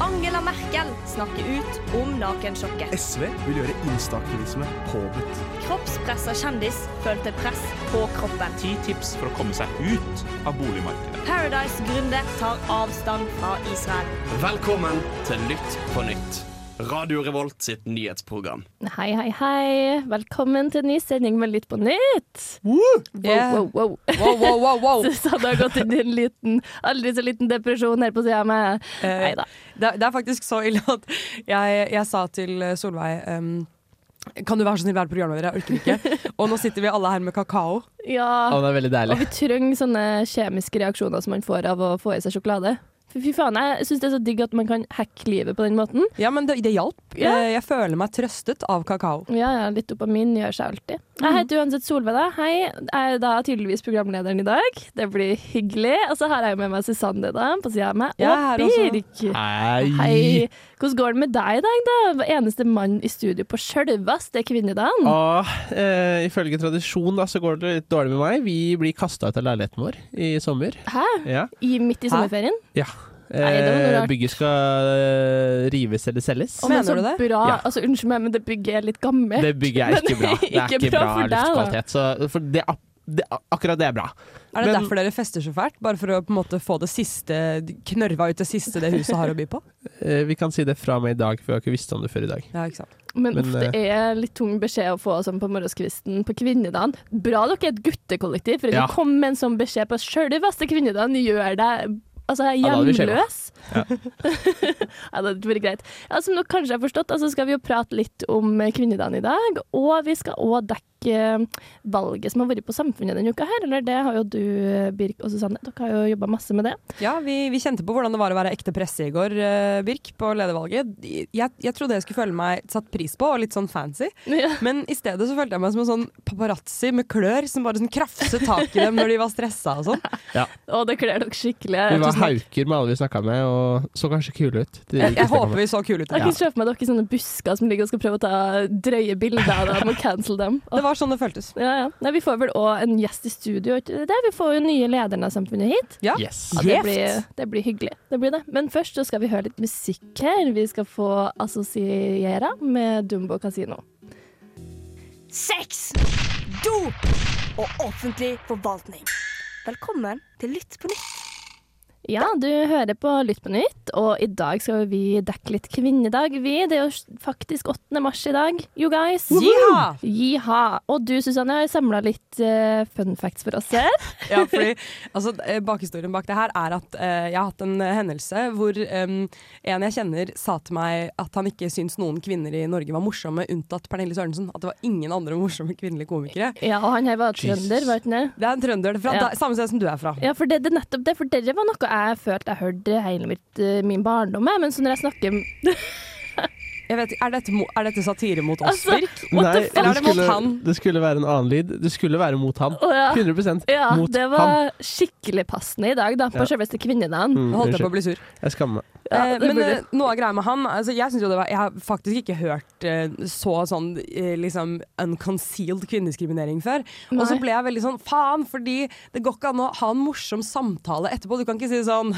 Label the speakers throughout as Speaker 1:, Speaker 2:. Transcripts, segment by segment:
Speaker 1: Angela Merkel snakker ut om nakensjokket.
Speaker 2: SV vil gjøre instaaktivisme påbudt.
Speaker 1: Kroppspressa kjendis følte press på kroppen.
Speaker 3: Ti tips for å komme seg ut av boligmarkedet.
Speaker 1: Paradise-gründer tar avstand fra Israel.
Speaker 4: Velkommen til Lytt på nytt. Radio Revolt sitt nyhetsprogram.
Speaker 5: Hei, hei, hei. Velkommen til en ny sending med Lytt på nytt.
Speaker 6: Yeah.
Speaker 5: Wow, wow, wow.
Speaker 6: Wow, wow, wow, wow.
Speaker 5: Susanne har gått inn i en liten, aldri så liten depresjon her på sida av meg.
Speaker 6: Eh,
Speaker 5: Nei da.
Speaker 6: Det, det er faktisk så ille at jeg, jeg sa til eh, Solveig ehm, Kan du være så snill være programleder? Jeg orker ikke. Og nå sitter vi alle her med kakao.
Speaker 5: Ja.
Speaker 7: det er veldig
Speaker 5: Og
Speaker 7: deilig.
Speaker 5: vi trenger sånne kjemiske reaksjoner som man får av å få i seg sjokolade. Fy fy faen, jeg syns det er så digg at man kan hacke livet på den måten.
Speaker 6: Ja, men det, det hjalp.
Speaker 5: Ja.
Speaker 6: Eh, Jeg føler meg trøstet av kakao.
Speaker 5: Ja, ja, litt dopamin gjør seg alltid. Jeg heter uansett Solveig, da. Hei. Jeg er da tydeligvis programlederen i dag. Det blir hyggelig. Og så har jeg jo med meg Susanne da, på sida av meg. Og
Speaker 6: Jeg er her også.
Speaker 5: Birk.
Speaker 7: Hei.
Speaker 5: Hei. Hvordan går det med deg i dag, da? Hva Eneste mann i studio på sjølveste kvinnedagen.
Speaker 7: Og, eh, ifølge tradisjon da, så går det litt dårlig med meg. Vi blir kasta ut av leiligheten vår i sommer.
Speaker 5: Hæ?
Speaker 7: Ja.
Speaker 5: I, midt i
Speaker 6: Hæ?
Speaker 5: sommerferien? Nei, det var noe
Speaker 7: Eh,
Speaker 5: rart.
Speaker 7: bygget skal eh, rives eller selges.
Speaker 5: Å, men
Speaker 6: Mener
Speaker 5: så
Speaker 6: du det?
Speaker 5: Bra.
Speaker 7: Ja.
Speaker 5: Altså, unnskyld meg, men det bygget er litt gammelt.
Speaker 7: Det bygget er ikke bra. Det er
Speaker 5: ikke
Speaker 7: ikke
Speaker 5: bra
Speaker 7: bra
Speaker 5: for deg, da.
Speaker 7: luftkvalitet. Så for det, ak- det, akkurat det er bra.
Speaker 6: Er det
Speaker 7: Men-
Speaker 6: derfor dere fester så fælt? Bare for å på en måte få det siste knørva ut det siste det huset har å by på?
Speaker 7: Eh, vi kan si det fra og med i dag, for vi har ikke visst om det før i dag.
Speaker 6: Ja, ikke sant?
Speaker 5: Men,
Speaker 7: Men, eh,
Speaker 5: uff, det er litt tung beskjed å få sånn på morgenskvisten på kvinnedagen. Bra dere er et guttekollektiv, for
Speaker 7: Ja.
Speaker 5: å komme med en sånn beskjed på selveste kvinnedagen gjør deg altså,
Speaker 7: da hadde vi skjema.
Speaker 5: hjemløs. Ja, det hadde vært greit. Ja, som dere kanskje har forstått, altså skal vi jo prate litt om kvinnedagen i dag, og vi skal også dekke eh, valget som har vært på samfunnet denne uka her, eller det har jo du, Birk og Susanne, dere har jo jobbet masse med det.
Speaker 6: Ja, vi, vi kjente på hvordan det var å være ekte presse i går, eh, Birk, på ledervalget. Jeg, jeg trodde jeg skulle føle meg satt pris på og litt sånn fancy.
Speaker 5: Ja.
Speaker 6: Men i stedet så følte jeg meg som en sånn paparazzi med klør som bare sånn krafset tak i dem når de var stressa og sånn.
Speaker 5: Og det klær dere skikkelig.
Speaker 7: Vi var
Speaker 5: Tusen takk.
Speaker 7: hauker med alle vi snakka med, og så kanskje kule ut. til de
Speaker 6: Jeg, jeg
Speaker 7: vi snakket
Speaker 6: håper
Speaker 7: med.
Speaker 6: vi så kule ut.
Speaker 5: Jeg
Speaker 6: Ja.
Speaker 5: kan se for meg dere i sånne busker som ligger og skal prøve å ta drøye bilder av dem og cancel dem.
Speaker 6: Det var sånn det føltes.
Speaker 5: Ja, ja. Nei, vi får vel òg en gjest i studio. er ikke det? Vi får jo nye lederen av samfunnet hit.
Speaker 6: Ja.
Speaker 7: Yes.
Speaker 5: Ja, det,
Speaker 6: Gjevt.
Speaker 5: blir, det blir hyggelig. Det blir det. Men først så skal vi høre litt musikk her. Vi skal få Associera med Dumbo Casino.
Speaker 1: Sex, dop og offentlig forvaltning. Velkommen til Lytt på nytt.
Speaker 5: Ja, du hører på Lytt på nytt, og i dag skal vi dekke litt kvinnedag. Vi, det er jo faktisk 8. mars i dag. You guys.
Speaker 6: Jiha!
Speaker 5: Jiha. Og du, Susanne, har samla litt eh, fun facts for oss her.
Speaker 6: Ja, fordi altså, eh, Bakhistorien bak det her er at eh, jeg har hatt en eh, hendelse hvor em, en jeg kjenner sa til meg at han ikke syns noen kvinner i Norge var morsomme, unntatt Pernille Sørensen. At det var ingen andre morsomme kvinnelige komikere.
Speaker 5: Ja, og han her var trønder, var ikke det?
Speaker 6: Det er en trønder fra
Speaker 5: Ja.
Speaker 6: da- samme sted som du er fra.
Speaker 5: Ja, for det, det er nettopp det, for dere var noe jeg følte jeg hørte hele mitt, eh, min barndom, jeg, men så når jeg snakker
Speaker 6: Jeg vet, er, dette, mo- er dette satire mot oss,
Speaker 5: Altså,
Speaker 6: Birk?
Speaker 5: What the
Speaker 7: Nei,
Speaker 5: fuck?
Speaker 6: Eller er det mot
Speaker 7: skulle,
Speaker 6: han?
Speaker 7: det skulle være en annen lyd. Det skulle være mot han.
Speaker 5: Å, ja.
Speaker 7: 100
Speaker 5: Ja,
Speaker 7: mot
Speaker 5: det
Speaker 7: han.
Speaker 5: var skikkelig passende i dag, da, på
Speaker 7: Ja.
Speaker 5: selveste kvinnedagen.
Speaker 7: Mm,
Speaker 6: Nå holdt jeg på
Speaker 7: unnskyld.
Speaker 6: å bli sur.
Speaker 7: Jeg skammer meg.
Speaker 5: Ja,
Speaker 6: Eh,
Speaker 5: det
Speaker 6: men
Speaker 5: burde-
Speaker 6: eh, noe av greia med han altså, Jeg synes jo det var Jeg har faktisk ikke hørt eh, så sånn eh, liksom unconcealed kvinnediskriminering før. Og så
Speaker 5: Nei.
Speaker 6: ble jeg veldig sånn faen, fordi det går ikke an å ha en morsom samtale etterpå. Du kan ikke si sånn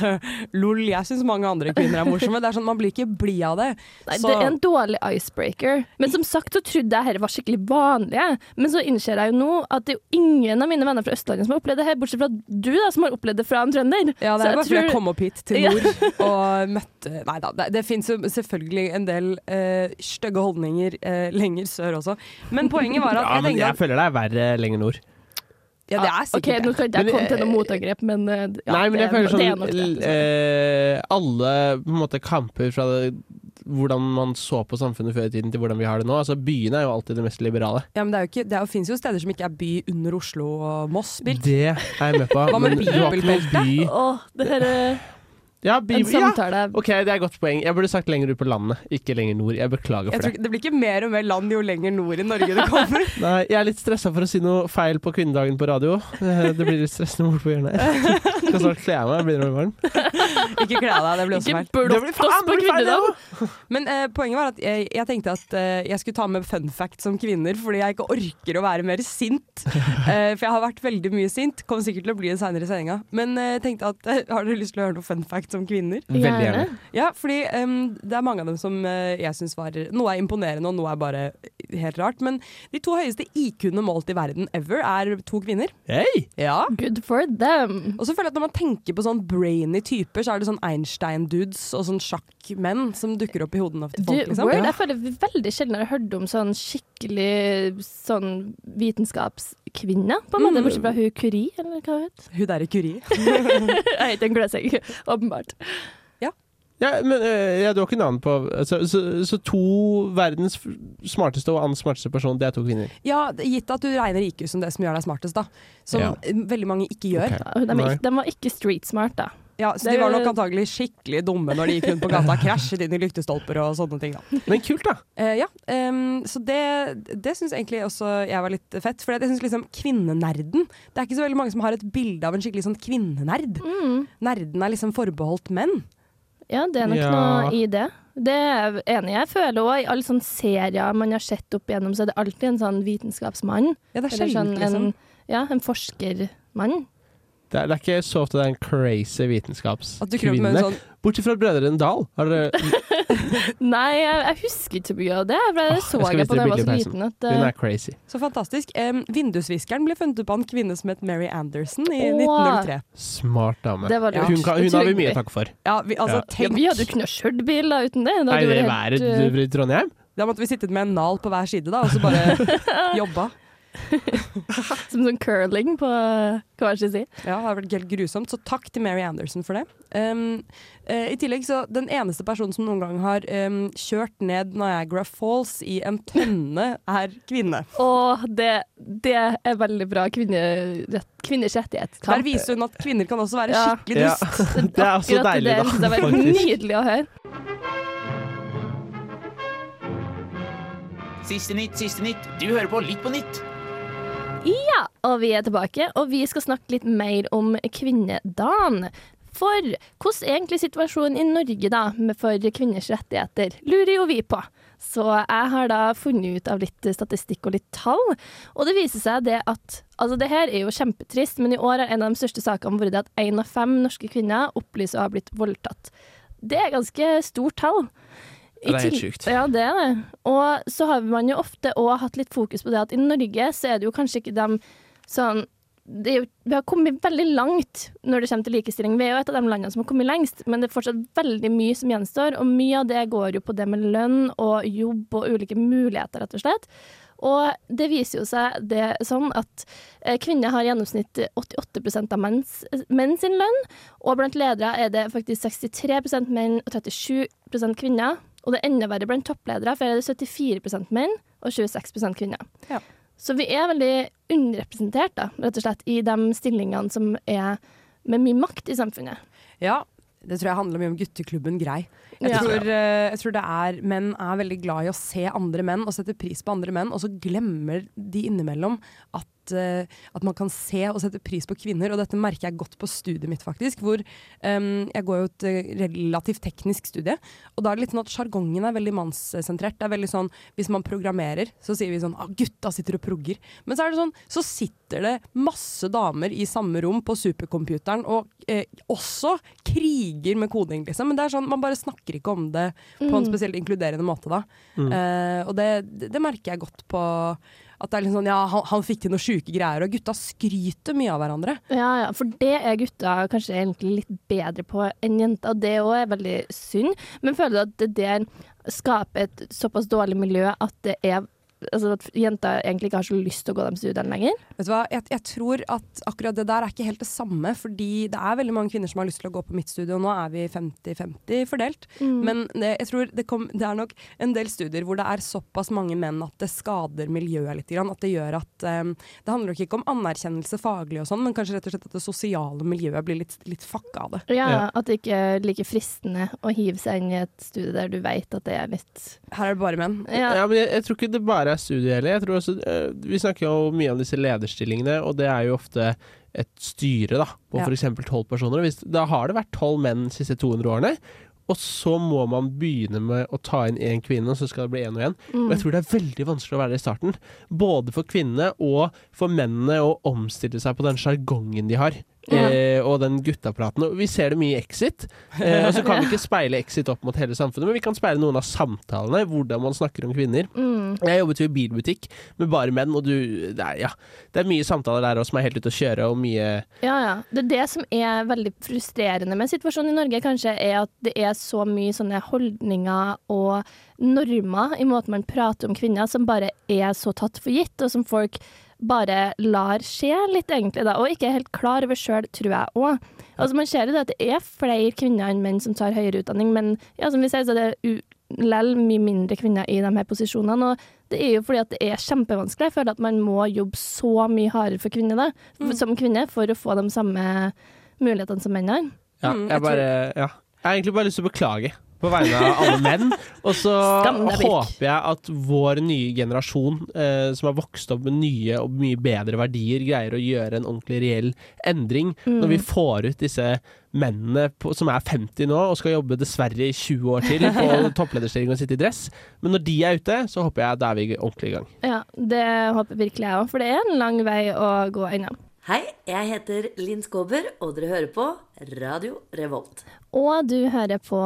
Speaker 6: lol, jeg syns mange andre kvinner er morsomme. Det er sånn, Man blir ikke blid av det.
Speaker 5: Nei,
Speaker 6: så
Speaker 5: Det er en dårlig icebreaker. Men som sagt så trodde jeg dette var skikkelig vanlig. jeg. Men så innser jeg jo nå at det er jo ingen av mine venner fra Østlandet som har opplevd det her, bortsett fra du, da, som har opplevd det fra en trønder.
Speaker 6: ja, det
Speaker 5: Så
Speaker 6: er bare fordi jeg
Speaker 5: tror-
Speaker 6: kom opp hit til
Speaker 5: Ja.
Speaker 6: nord og møtte Nei da, det, det fins jo selvfølgelig en del uh, stygge holdninger eh, lenger sør også. Men poenget var at
Speaker 7: Ja,
Speaker 6: jeg
Speaker 7: men
Speaker 6: tenkte
Speaker 7: jeg
Speaker 6: at
Speaker 7: føler det er verre lenger nord.
Speaker 6: Ja, det er sikkert
Speaker 5: OK, nå
Speaker 6: det.
Speaker 5: skal ikke jeg
Speaker 7: Men,
Speaker 5: komme til noe
Speaker 7: eh,
Speaker 5: motangrep, men eh, ja,
Speaker 7: Nei, men jeg
Speaker 5: det,
Speaker 7: føler
Speaker 5: det er
Speaker 7: sånn
Speaker 5: nok det.
Speaker 7: eh, Alle på en måte kamper fra det, hvordan man så på samfunnet før i tiden, til hvordan vi har det nå. Altså Byene er jo alltid det mest liberale.
Speaker 6: Ja, men det, er jo ikke, det er jo, finnes jo steder som ikke er by under Oslo og Moss, Birk.
Speaker 7: Det er jeg med på.
Speaker 6: Hva med
Speaker 7: men du har ikke noe by
Speaker 5: Åh, det her er
Speaker 7: Ja, by
Speaker 5: en
Speaker 7: ja.
Speaker 5: samtale jeg
Speaker 7: OK, det er et godt poeng. Jeg burde sagt lenger ut på landet, ikke lenger nord. Jeg beklager
Speaker 6: Jeg tror,
Speaker 7: for det.
Speaker 6: ikke- det blir ikke mer og mer land jo lenger nord i Norge du kommer.
Speaker 7: Nei, jeg er litt stressa for å si noe feil på kvinnedagen på radio. Eh, Det blir litt stressende bort på hjørnet. Skal snart kle av meg, begynner å bli varm.
Speaker 6: Ikke kle av deg, det blir også
Speaker 5: Ikke
Speaker 6: feil.
Speaker 7: blir
Speaker 5: blått
Speaker 7: faen,
Speaker 5: oss
Speaker 7: det
Speaker 5: på
Speaker 7: blir feil, det
Speaker 5: kvinnedagen!
Speaker 6: Men eh, poenget var at jeg, jeg tenkte at eh, jeg skulle ta med fun fact som kvinner, fordi jeg ikke orker å være mer sint. Eh, for jeg har vært veldig mye sint. Kommer sikkert til å bli det seinere i sendinga. Men eh, jeg tenkte at eh, har dere lyst til å høre noe fun fact som kvinner?
Speaker 7: Veldig gjerne.
Speaker 6: Ja, fordi em, det er mange av dem som eh, jeg syns var Noe er imponerende, og noe er bare helt rart. Men de to høyeste IQ-ene målt i verden ever er to kvinner.
Speaker 7: Hei!
Speaker 6: Ja.
Speaker 5: Good for them.
Speaker 6: Og så føler jeg at Når man tenker på sånn brainy typer, så er det sånn Einstein-dudes og sånn sjakkmenn som dukker opp i hodene til
Speaker 5: Du,
Speaker 6: folk. liksom.
Speaker 5: Word, jeg føler veldig sjelden jeg har hørt om sånn skikkelig sånn vitenskapskvinne, på en måte. Bortsett fra hun Curie, eller hva hun het.
Speaker 6: Hun der i Curie.
Speaker 5: Jeg heter en gløsegg, åpenbart.
Speaker 7: Ja, men eh, ja, du har ikke navn på så, så, så to verdens f- smarteste og annen smarteste person, det er to kvinner.
Speaker 6: Ja, det- gitt at du regner IQ som det som gjør deg smartest, da. Som eh,
Speaker 7: Ja.
Speaker 6: veldig mange ikke gjør.
Speaker 7: Ok.
Speaker 5: Ja, De, er
Speaker 7: Nei.
Speaker 5: ikke, de var ikke street smart, da.
Speaker 6: Ja, så
Speaker 5: Det-
Speaker 6: de var nok antagelig skikkelig dumme når de gikk rundt på gata og krasjet inn i lyktestolper og sånne ting, da.
Speaker 7: Men kult, da.
Speaker 6: Eh, ja, em, så det, det syns egentlig også jeg var litt fett. For jeg syns liksom kvinnenerden Det er ikke så veldig mange som har et bilde av en skikkelig sånn kvinnenerd. Nerden er liksom forbeholdt menn.
Speaker 5: Ja, det er nok
Speaker 7: Ja.
Speaker 5: noe i det. Det er jeg enig i. Jeg føler òg i alle sånne serier man har sett opp igjennom, så er det alltid en sånn vitenskapsmann.
Speaker 6: Ja, det er
Speaker 5: Eller sånn
Speaker 6: sjeldent,
Speaker 5: en,
Speaker 6: liksom.
Speaker 5: ja, en forskermann.
Speaker 7: Det er, det er ikke så ofte det er en crazy vitenskapskvinne.
Speaker 6: At du kryper med en sånn
Speaker 7: Bortsett fra Brødrene Dal. Har dere,
Speaker 5: Nei, jeg, jeg husker ikke så mye av det. for
Speaker 7: Åh,
Speaker 5: Jeg
Speaker 7: Ah, jeg
Speaker 5: så
Speaker 7: skal
Speaker 5: jeg
Speaker 7: vise
Speaker 5: på da
Speaker 7: deg
Speaker 5: jeg var så
Speaker 7: bildet på
Speaker 5: liten at
Speaker 7: hun
Speaker 5: eh,
Speaker 7: er crazy.
Speaker 6: Så fantastisk. Em, vindusviskeren ble funnet opp av en kvinne som het Mary Anderson i
Speaker 5: Åh.
Speaker 6: 1903.
Speaker 7: Smart dame.
Speaker 5: eh, det var
Speaker 6: Ja.
Speaker 5: lurt.
Speaker 7: Hun, kan, hun har vi mye å takke for.
Speaker 6: Ja, vi, altså,
Speaker 7: Ja.
Speaker 5: Ja,
Speaker 6: tenk
Speaker 5: vi hadde jo ikke noe kjølbil da, uten det. Da
Speaker 7: Er
Speaker 5: hadde
Speaker 7: det
Speaker 5: vært
Speaker 7: været
Speaker 5: helt, eh,
Speaker 7: du- i Trondheim?
Speaker 6: Da måtte vi sittet med en nal på hver side da, og så bare jobba.
Speaker 5: Som sånn curling på eh, hver sin side.
Speaker 6: Ja, det har vært helt grusomt, så takk til Mary Anderson for det. Um, eh, I tillegg så den eneste personen som noen gang har um, kjørt ned Niagara Falls i en tønne, er kvinne.
Speaker 5: Og det, det er veldig bra kvinnerett, kvinners rettighetskamp.
Speaker 6: Der viser hun at kvinner kan også være
Speaker 5: Ja.
Speaker 6: skikkelig dust.
Speaker 7: Det er også
Speaker 5: Akkurat
Speaker 7: deilig,
Speaker 5: det,
Speaker 7: da.
Speaker 5: Det var
Speaker 7: faktisk.
Speaker 5: nydelig å høre.
Speaker 8: Siste nytt, siste nytt. Du hører på Litt på nytt.
Speaker 5: Ja, og vi er tilbake, og vi skal snakke litt mer om kvinnedagen. For hvordan er egentlig situasjonen i Norge da, med for kvinners rettigheter? Lurer jo vi på. Så jeg har da funnet ut av litt statistikk og litt tall, og det viser seg det at Altså, det her er jo kjempetrist, men i år har en av de største sakene vært det at én av fem norske kvinner opplyser å ha blitt voldtatt. Det er ganske stort tall.
Speaker 4: Ja, det er
Speaker 5: I
Speaker 4: helt
Speaker 5: til-
Speaker 4: sjukt.
Speaker 5: Ja, det er det. Og så har man jo ofte òg hatt litt fokus på det at i Norge så er det jo kanskje ikke dem sånn det er jo, vi har kommet veldig langt når det kommer til likestilling. Vi er jo et av de landene som har kommet lengst, men det er fortsatt veldig mye som gjenstår. Og mye av det går jo på det med lønn og jobb og ulike muligheter, rett og slett. Og det viser jo seg det som at eh, kvinner har i gjennomsnitt 88 av menns, menn sin lønn, og blant ledere er det faktisk 63 menn og 37 kvinner. Og det er enda verre blant toppledere, for det er 74 menn og 26 kvinner. Så vi er veldig underrepresentert, da, rett og slett, i de stillingene som er med mye makt i samfunnet.
Speaker 6: Ja, det tror jeg handler mye om gutteklubben Grei. Jeg,
Speaker 5: Ja.
Speaker 6: tror, eh, jeg tror det er menn er veldig glad i å se andre menn og sette pris på andre menn, og så glemmer de innimellom at eh, at man kan se og sette pris på kvinner, og dette merker jeg godt på studiet mitt. faktisk, hvor em, Jeg går jo et eh, relativt teknisk studie, og da er det litt sånn at sjargongen er veldig mannssentrert. Det er veldig sånn, Hvis man programmerer, så sier vi sånn ah, 'gutta sitter og progger'. Men så er det sånn, så sitter det masse damer i samme rom på supercomputeren og eh, også kriger med koding, liksom. Men det er sånn, man bare snakker ikke om det på en spesielt inkluderende måte, da. Eh, og det, det, det merker jeg godt på at det er litt sånn, ja, han, han fikk til noen sjuke greier, og gutta skryter mye av hverandre.
Speaker 5: Ja, ja, for det er gutta kanskje egentlig litt bedre på enn jenter, og det òg er veldig synd. Men føler du at det der skaper et såpass dårlig miljø at det er Altså at jenter egentlig ikke har så lyst til å gå de studiene lenger?
Speaker 6: Vet du hva, jeg, jeg tror at akkurat det der er ikke helt det samme, fordi det er veldig mange kvinner som har lyst til å gå på mitt studie, og nå er vi 50-50 fordelt. Men det, jeg tror det, kom, det er nok en del studier hvor det er såpass mange menn at det skader miljøet litt. Grann, at det gjør at eh, Det handler nok ikke om anerkjennelse faglig og sånn, men kanskje rett og slett at det sosiale miljøet blir litt, litt fucka av det.
Speaker 5: Ja,
Speaker 7: Ja.
Speaker 5: At det ikke er like fristende å hive seg inn i et studie der du veit at det er litt
Speaker 6: Her er det bare menn.
Speaker 5: Ja,
Speaker 7: Ja, men jeg, jeg tror ikke det bare er studiet heller. Jeg tror også, eh, vi snakker jo mye om disse lederstillingene, og det er jo ofte et styre da, på
Speaker 6: Ja.
Speaker 7: for f.eks. tolv personer. Og Hvis, da har det vært tolv menn de siste 200 årene. Og så må man begynne med å ta inn én kvinne, og så skal det bli én og én.
Speaker 5: Mm,
Speaker 7: Og jeg tror det er veldig vanskelig å være der i starten. Både for kvinnene og for mennene å omstille seg på den sjargongen de har.
Speaker 5: Ja.
Speaker 7: Eh, og den gutteapparaten. Og Vi ser det mye i Exit. Eh, og så kan vi ikke speile Exit opp mot hele samfunnet, men vi kan speile noen av samtalene. Hvordan man snakker om kvinner.
Speaker 5: Mm.
Speaker 7: Jeg jobbet jo i bilbutikk med bare menn, og du det er, ja, det er mye samtaler der også som er helt ute å kjøre, og mye
Speaker 5: Ja, ja. Det er det som er veldig frustrerende med situasjonen i Norge, kanskje, er at det er så mye sånne holdninger og normer i måten man prater om kvinner, som bare er så tatt for gitt, og som folk bare lar skje litt, egentlig, da, og ikke er helt klar over sjøl, tror jeg òg. Altså, man ser jo det at det er flere kvinner enn menn som tar høyere utdanning, men ja, som vi sier, så er det u- lell mye mindre kvinner i de her posisjonene. og det er jo fordi at det er kjempevanskelig. Jeg føler at man må jobbe så mye hardere for kvinner, da, for, som kvinne for å få de samme mulighetene som menn har.
Speaker 7: ja,
Speaker 6: Mm, jeg
Speaker 7: jeg, bare, ja. jeg har egentlig bare lyst til å beklage på vegne av alle menn. Og så
Speaker 5: Skam deg, Birk.
Speaker 7: håper jeg at vår nye generasjon, eh, som har vokst opp med nye og mye bedre verdier, greier å gjøre en ordentlig reell endring når
Speaker 5: Mm.
Speaker 7: vi får ut disse mennene på, som er 50 nå og skal jobbe dessverre i 20 år til på topplederstilling og sitte i dress. Men når de er ute, så håper jeg da er vi ordentlig i gang.
Speaker 5: Ja, det håper virkelig jeg òg, for det er en lang vei å gå ennå.
Speaker 9: Hei, jeg heter Linn Skåber, og dere hører på Radio Revolt.
Speaker 5: Og du hører på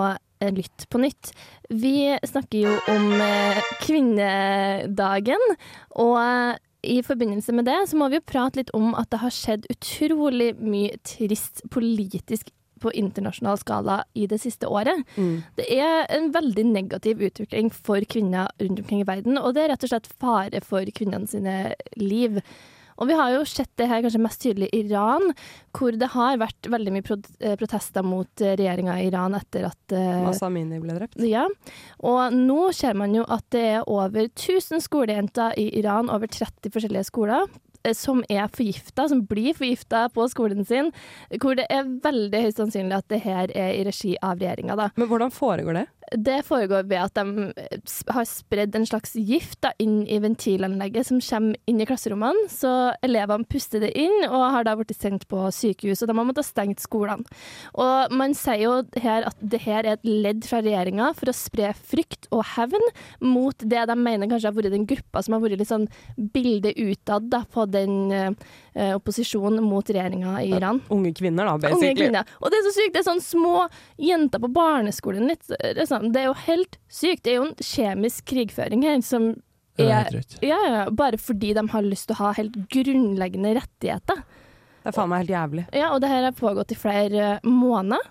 Speaker 5: eh, Lytt på nytt. Vi snakker jo om eh, kvinnedagen, og eh, i forbindelse med det så må vi jo prate litt om at det har skjedd utrolig mye trist politisk på internasjonal skala i det siste året. Det er en veldig negativ utvikling for kvinner rundt omkring i verden, og det er rett og slett fare for kvinnene sine liv. Og vi har jo sett det her kanskje mest tydelig i Iran, hvor det har vært veldig mye prot- eh, protester mot regjeringa i Iran etter at eh,
Speaker 6: Masamini ble drept.
Speaker 5: ja. Og nå ser man jo at det er over 1000 skolejenter i Iran, over 30 forskjellige skoler. eh, Som er forgifta, som blir forgifta på skolen sin. Hvor det er veldig høyst sannsynlig at det her er i regi av regjeringa, da.
Speaker 6: Men hvordan foregår det?
Speaker 5: Det foregår ved at de eh, sp- har spredd en slags gift da, inn i ventilanlegget som kommer inn i klasserommene. Så elevene puster det inn og har da blitt sendt på sykehus, og de har måttet stengt skolene. Og man sier jo her at det her er et ledd fra regjeringa for å spre frykt og hevn mot det de mener kanskje har vært den gruppa som har vært litt sånn bilde utad da, på den eh, opposisjonen mot regjeringa i Iran.
Speaker 6: Unge kvinner, da,
Speaker 5: Unge
Speaker 6: basically.
Speaker 5: kvinner. Og det er så sykt. Det er sånn små jenter på barneskolen. Litt, det, er sånn, det er jo helt sykt. Det er jo en kjemisk krigføring her som
Speaker 7: Det er
Speaker 5: er
Speaker 7: helt drøyt.
Speaker 5: ja, ja, bare fordi de har lyst til å ha helt grunnleggende rettigheter.
Speaker 6: Det er faen meg helt jævlig.
Speaker 5: Ja, og det her har pågått i flere eh, måneder.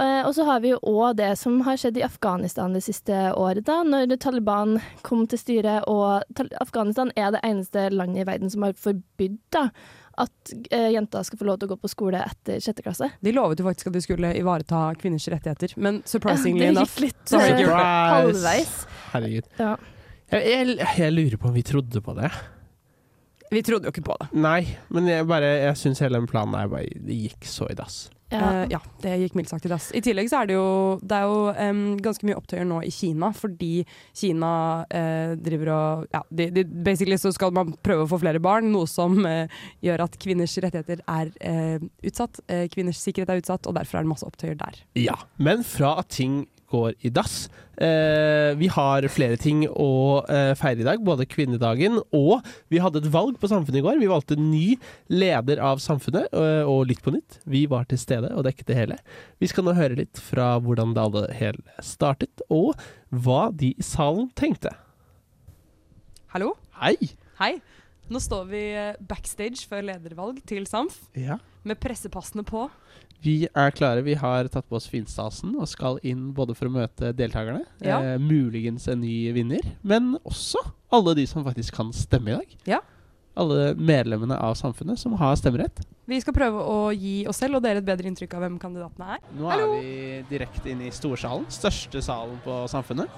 Speaker 5: Eh, og så har vi jo òg det som har skjedd i Afghanistan det siste året, da, når Taliban kom til styret. Og Tal Afghanistan er det eneste landet i verden som har forbudt da, at eh, jenter skal få lov til å gå på skole etter sjette klasse.
Speaker 6: De lovet jo faktisk at de skulle ivareta kvinners rettigheter, men surprisingly
Speaker 5: Ja, det
Speaker 6: enough
Speaker 5: gikk litt
Speaker 6: så har de ikke gjort det.
Speaker 5: eh,
Speaker 7: Surprise!
Speaker 5: halvveis.
Speaker 7: Herregud.
Speaker 5: Ja.
Speaker 7: Jeg, jeg, jeg lurer på om vi trodde på det.
Speaker 6: Vi trodde jo ikke på det.
Speaker 7: Nei, men jeg, bare- jeg syns hele den planen her bare Det gikk så i dass.
Speaker 5: Ja.
Speaker 6: Eh, ja, det gikk mildt sagt i dass. I tillegg så er det jo, det er jo em, ganske mye opptøyer nå i Kina, fordi Kina eh, driver og ja, de, de, Basically så skal man prøve å få flere barn, noe som eh, gjør at kvinners rettigheter er eh, utsatt. eh, kvinners sikkerhet er utsatt, og derfor er det masse opptøyer der.
Speaker 7: Ja. Men fra at ting går i dass eh, Vi har flere ting å eh, feire i dag, både kvinnedagen og Vi hadde et valg på Samfunnet i går. Vi valgte ny leder av Samfunnet, eh, og Lytt på nytt. Vi var til stede og dekket det hele. Vi skal nå høre litt fra hvordan det alle hele startet, og hva de i salen tenkte.
Speaker 6: Hallo?
Speaker 7: Hei!
Speaker 6: Hei. Nå står vi eh, backstage før ledervalg til SAMF,
Speaker 7: Ja.
Speaker 6: med pressepassene på.
Speaker 7: Vi er klare. Vi har tatt på oss finstasen og skal inn både for å møte deltakerne,
Speaker 6: Ja.
Speaker 7: eh, muligens en ny vinner, men også alle de som faktisk kan stemme i dag.
Speaker 6: Ja.
Speaker 7: Alle medlemmene av samfunnet som har stemmerett.
Speaker 6: Vi skal prøve å gi oss selv og dere et bedre inntrykk av hvem kandidatene er.
Speaker 7: Nå
Speaker 6: Hallo.
Speaker 7: er vi direkte inne i storsalen. Største salen på samfunnet.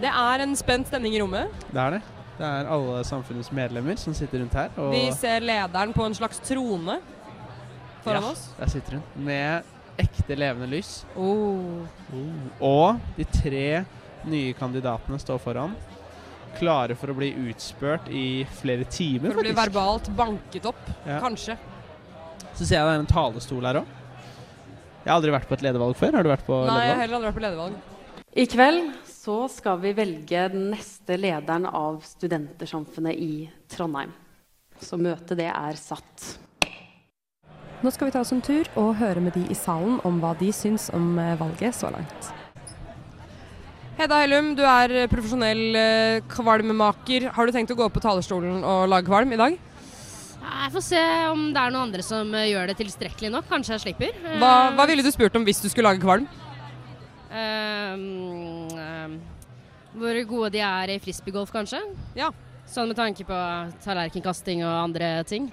Speaker 6: Det er en spent stemning i rommet.
Speaker 7: Det er det. Det er alle samfunnets medlemmer som sitter rundt her. Og
Speaker 6: Vi ser lederen på en slags trone foran
Speaker 7: Ja,
Speaker 6: oss.
Speaker 7: Der sitter hun. Med ekte levende lys.
Speaker 6: Oh.
Speaker 7: Og de tre nye kandidatene står foran. Klare for å bli utspurt i flere timer,
Speaker 6: For å bli
Speaker 7: faktisk.
Speaker 6: verbalt banket opp,
Speaker 7: Ja.
Speaker 6: kanskje.
Speaker 7: Så ser jeg det er en talestol her òg. Jeg har aldri vært på et ledervalg før. Har du vært på
Speaker 6: Nei, jeg har
Speaker 7: ledervalg?
Speaker 6: heller aldri vært på ledervalg.
Speaker 10: I kveld så skal vi velge den neste lederen av Studentersamfunnet i Trondheim. Så møtet det er satt.
Speaker 6: Nå skal vi ta oss en tur og høre med de i salen om hva de syns om eh, valget så langt. Hedda Hellum, du er profesjonell eh, kvalmemaker. Har du tenkt å gå opp på talerstolen og lage kvalm i dag?
Speaker 11: Jeg får se om det er noen andre som eh, gjør det tilstrekkelig nok. Kanskje jeg slipper. Eh,
Speaker 6: Hva, hva ville du spurt om hvis du skulle lage kvalm?
Speaker 11: eh, mm, eh, hvor gode de er i frisbeegolf, kanskje.
Speaker 6: Ja.
Speaker 11: Sånn med tanke på tallerkenkasting og andre ting.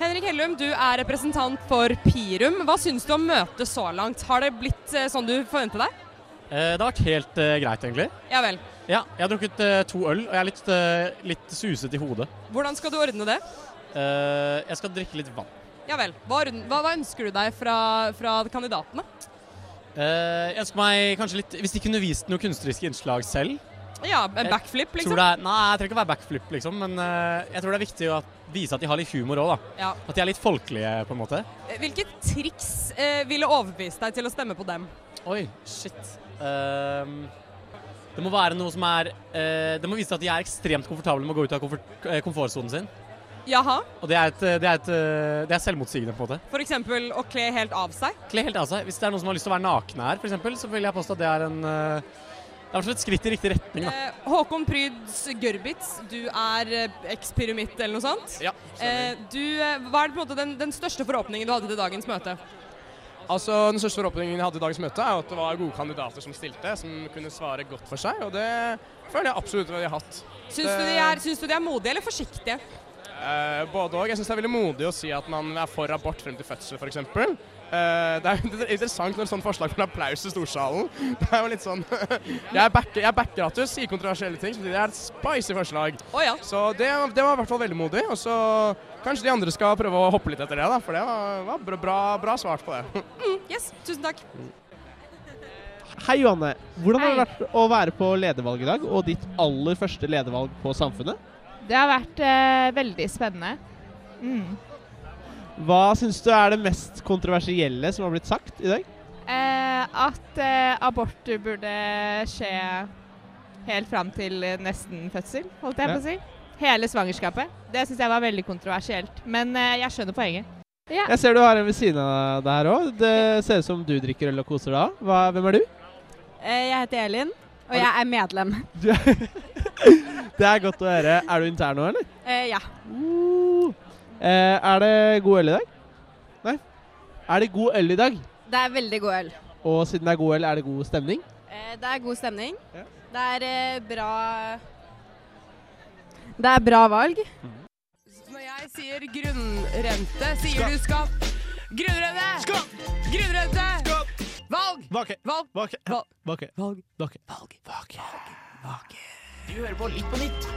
Speaker 6: Henrik Hellum, du er representant for Pirum. Hva syns du om møtet så langt? Har det blitt eh, sånn du forventet deg?
Speaker 12: Eh, Det har vært helt eh, greit, egentlig.
Speaker 6: Ja vel.
Speaker 12: Ja, jeg har drukket eh, to øl, og jeg er litt, eh, litt suset i hodet.
Speaker 6: Hvordan skal du ordne det?
Speaker 12: Eh, jeg skal drikke litt vann.
Speaker 6: Ja vel. Hva, ordn- hva, hva ønsker du deg fra, fra kandidatene?
Speaker 12: Eh, jeg ønsker meg kanskje litt Hvis de kunne vist noen kunstneriske innslag selv
Speaker 6: Ja, en backflip, liksom?
Speaker 12: tror det er, Nei, jeg trenger ikke å være backflip, liksom, men eh, jeg tror det er viktig å at- vise at de har litt humor òg, da.
Speaker 6: Ja.
Speaker 12: At de er litt folkelige, på en måte.
Speaker 6: Hvilke triks eh, ville overbevist deg til å stemme på dem?
Speaker 12: Oi, shit. Ehm, det må være noe som er eh, Det må vise at de er ekstremt komfortable med å gå ut av komfort, eh, komfortsonen sin.
Speaker 6: Jaha,
Speaker 12: Og det er, et, det, er et, eh, det er selvmotsigende, på en måte.
Speaker 6: f.eks. å kle helt av seg.
Speaker 12: Kle helt av seg. Hvis det er noen som har lyst til å være nakne her, for eksempel, så vil jeg påstå at det er en eh, Det er i hvert fall et skritt i riktig retning, da.
Speaker 6: Eh, Håkon Pryds Gørbitz, du er eh, ekspyramid eller noe sånt.
Speaker 12: Ja,
Speaker 6: Eh, du, eh, hva er det, på en måte, den, den største forhåpningen du hadde til dagens møte?
Speaker 13: Altså, Den største forhåpningen jeg hadde i dagens møte, er jo at det var gode kandidater som stilte, som kunne svare godt for seg, og det føler jeg absolutt at de har hatt.
Speaker 6: Syns du, de er, syns du de er modige eller forsiktige?
Speaker 13: Eh, både og. Jeg syns det er veldig modig å si at man er for abort frem til fødsel, f.eks. Uh, det er jo interessant når et sånt forslag får applaus i storsalen. Det er jo litt sånn Jeg backer, jeg backer at du sier kontroversielle ting, samtidig er det et spicy forslag. Så det, det var i hvert fall veldig modig. Og så kanskje de andre skal prøve å hoppe litt etter det, da, for det var, var bra, bra, bra svart på det.
Speaker 6: Mm, yes, tusen takk.
Speaker 7: Hei, Johanne. Hvordan har det vært å være på ledervalg i dag, og ditt aller første ledervalg på Samfunnet?
Speaker 14: Det har vært eh, veldig spennende. Mm.
Speaker 7: Hva syns du er det mest kontroversielle som har blitt sagt i dag?
Speaker 14: Eh, at eh, abort burde skje helt fram til nesten fødsel, holdt jeg på å si.
Speaker 7: Ja.
Speaker 14: Hele svangerskapet. Det syns jeg var veldig kontroversielt. Men eh, jeg skjønner poenget. Ja.
Speaker 7: Jeg ser du har en ved siden av deg her òg. Det ser ut som du drikker øl og koser deg òg. Hva- Hvem er du?
Speaker 15: Eh, Jeg heter Elin, og jeg er medlem.
Speaker 7: Det er godt å høre. Er du intern nå, eller?
Speaker 15: Eh, ja.
Speaker 7: Eh, er det god øl i dag? Nei? Er det god øl i dag?
Speaker 15: Det er veldig god øl.
Speaker 7: Og siden det er god øl, er det god stemning?
Speaker 15: Eh, Det er god stemning. Det er eh, bra Det er bra valg.
Speaker 6: Når jeg sier grunnrente, sier du skatt. Grunnrente! Skatt! Grunnrente! Skatt! Valg! Valg! Valg!
Speaker 7: Bake.
Speaker 6: Valg.
Speaker 7: Bake.
Speaker 6: Valg.
Speaker 8: Du hører på Litt på nytt.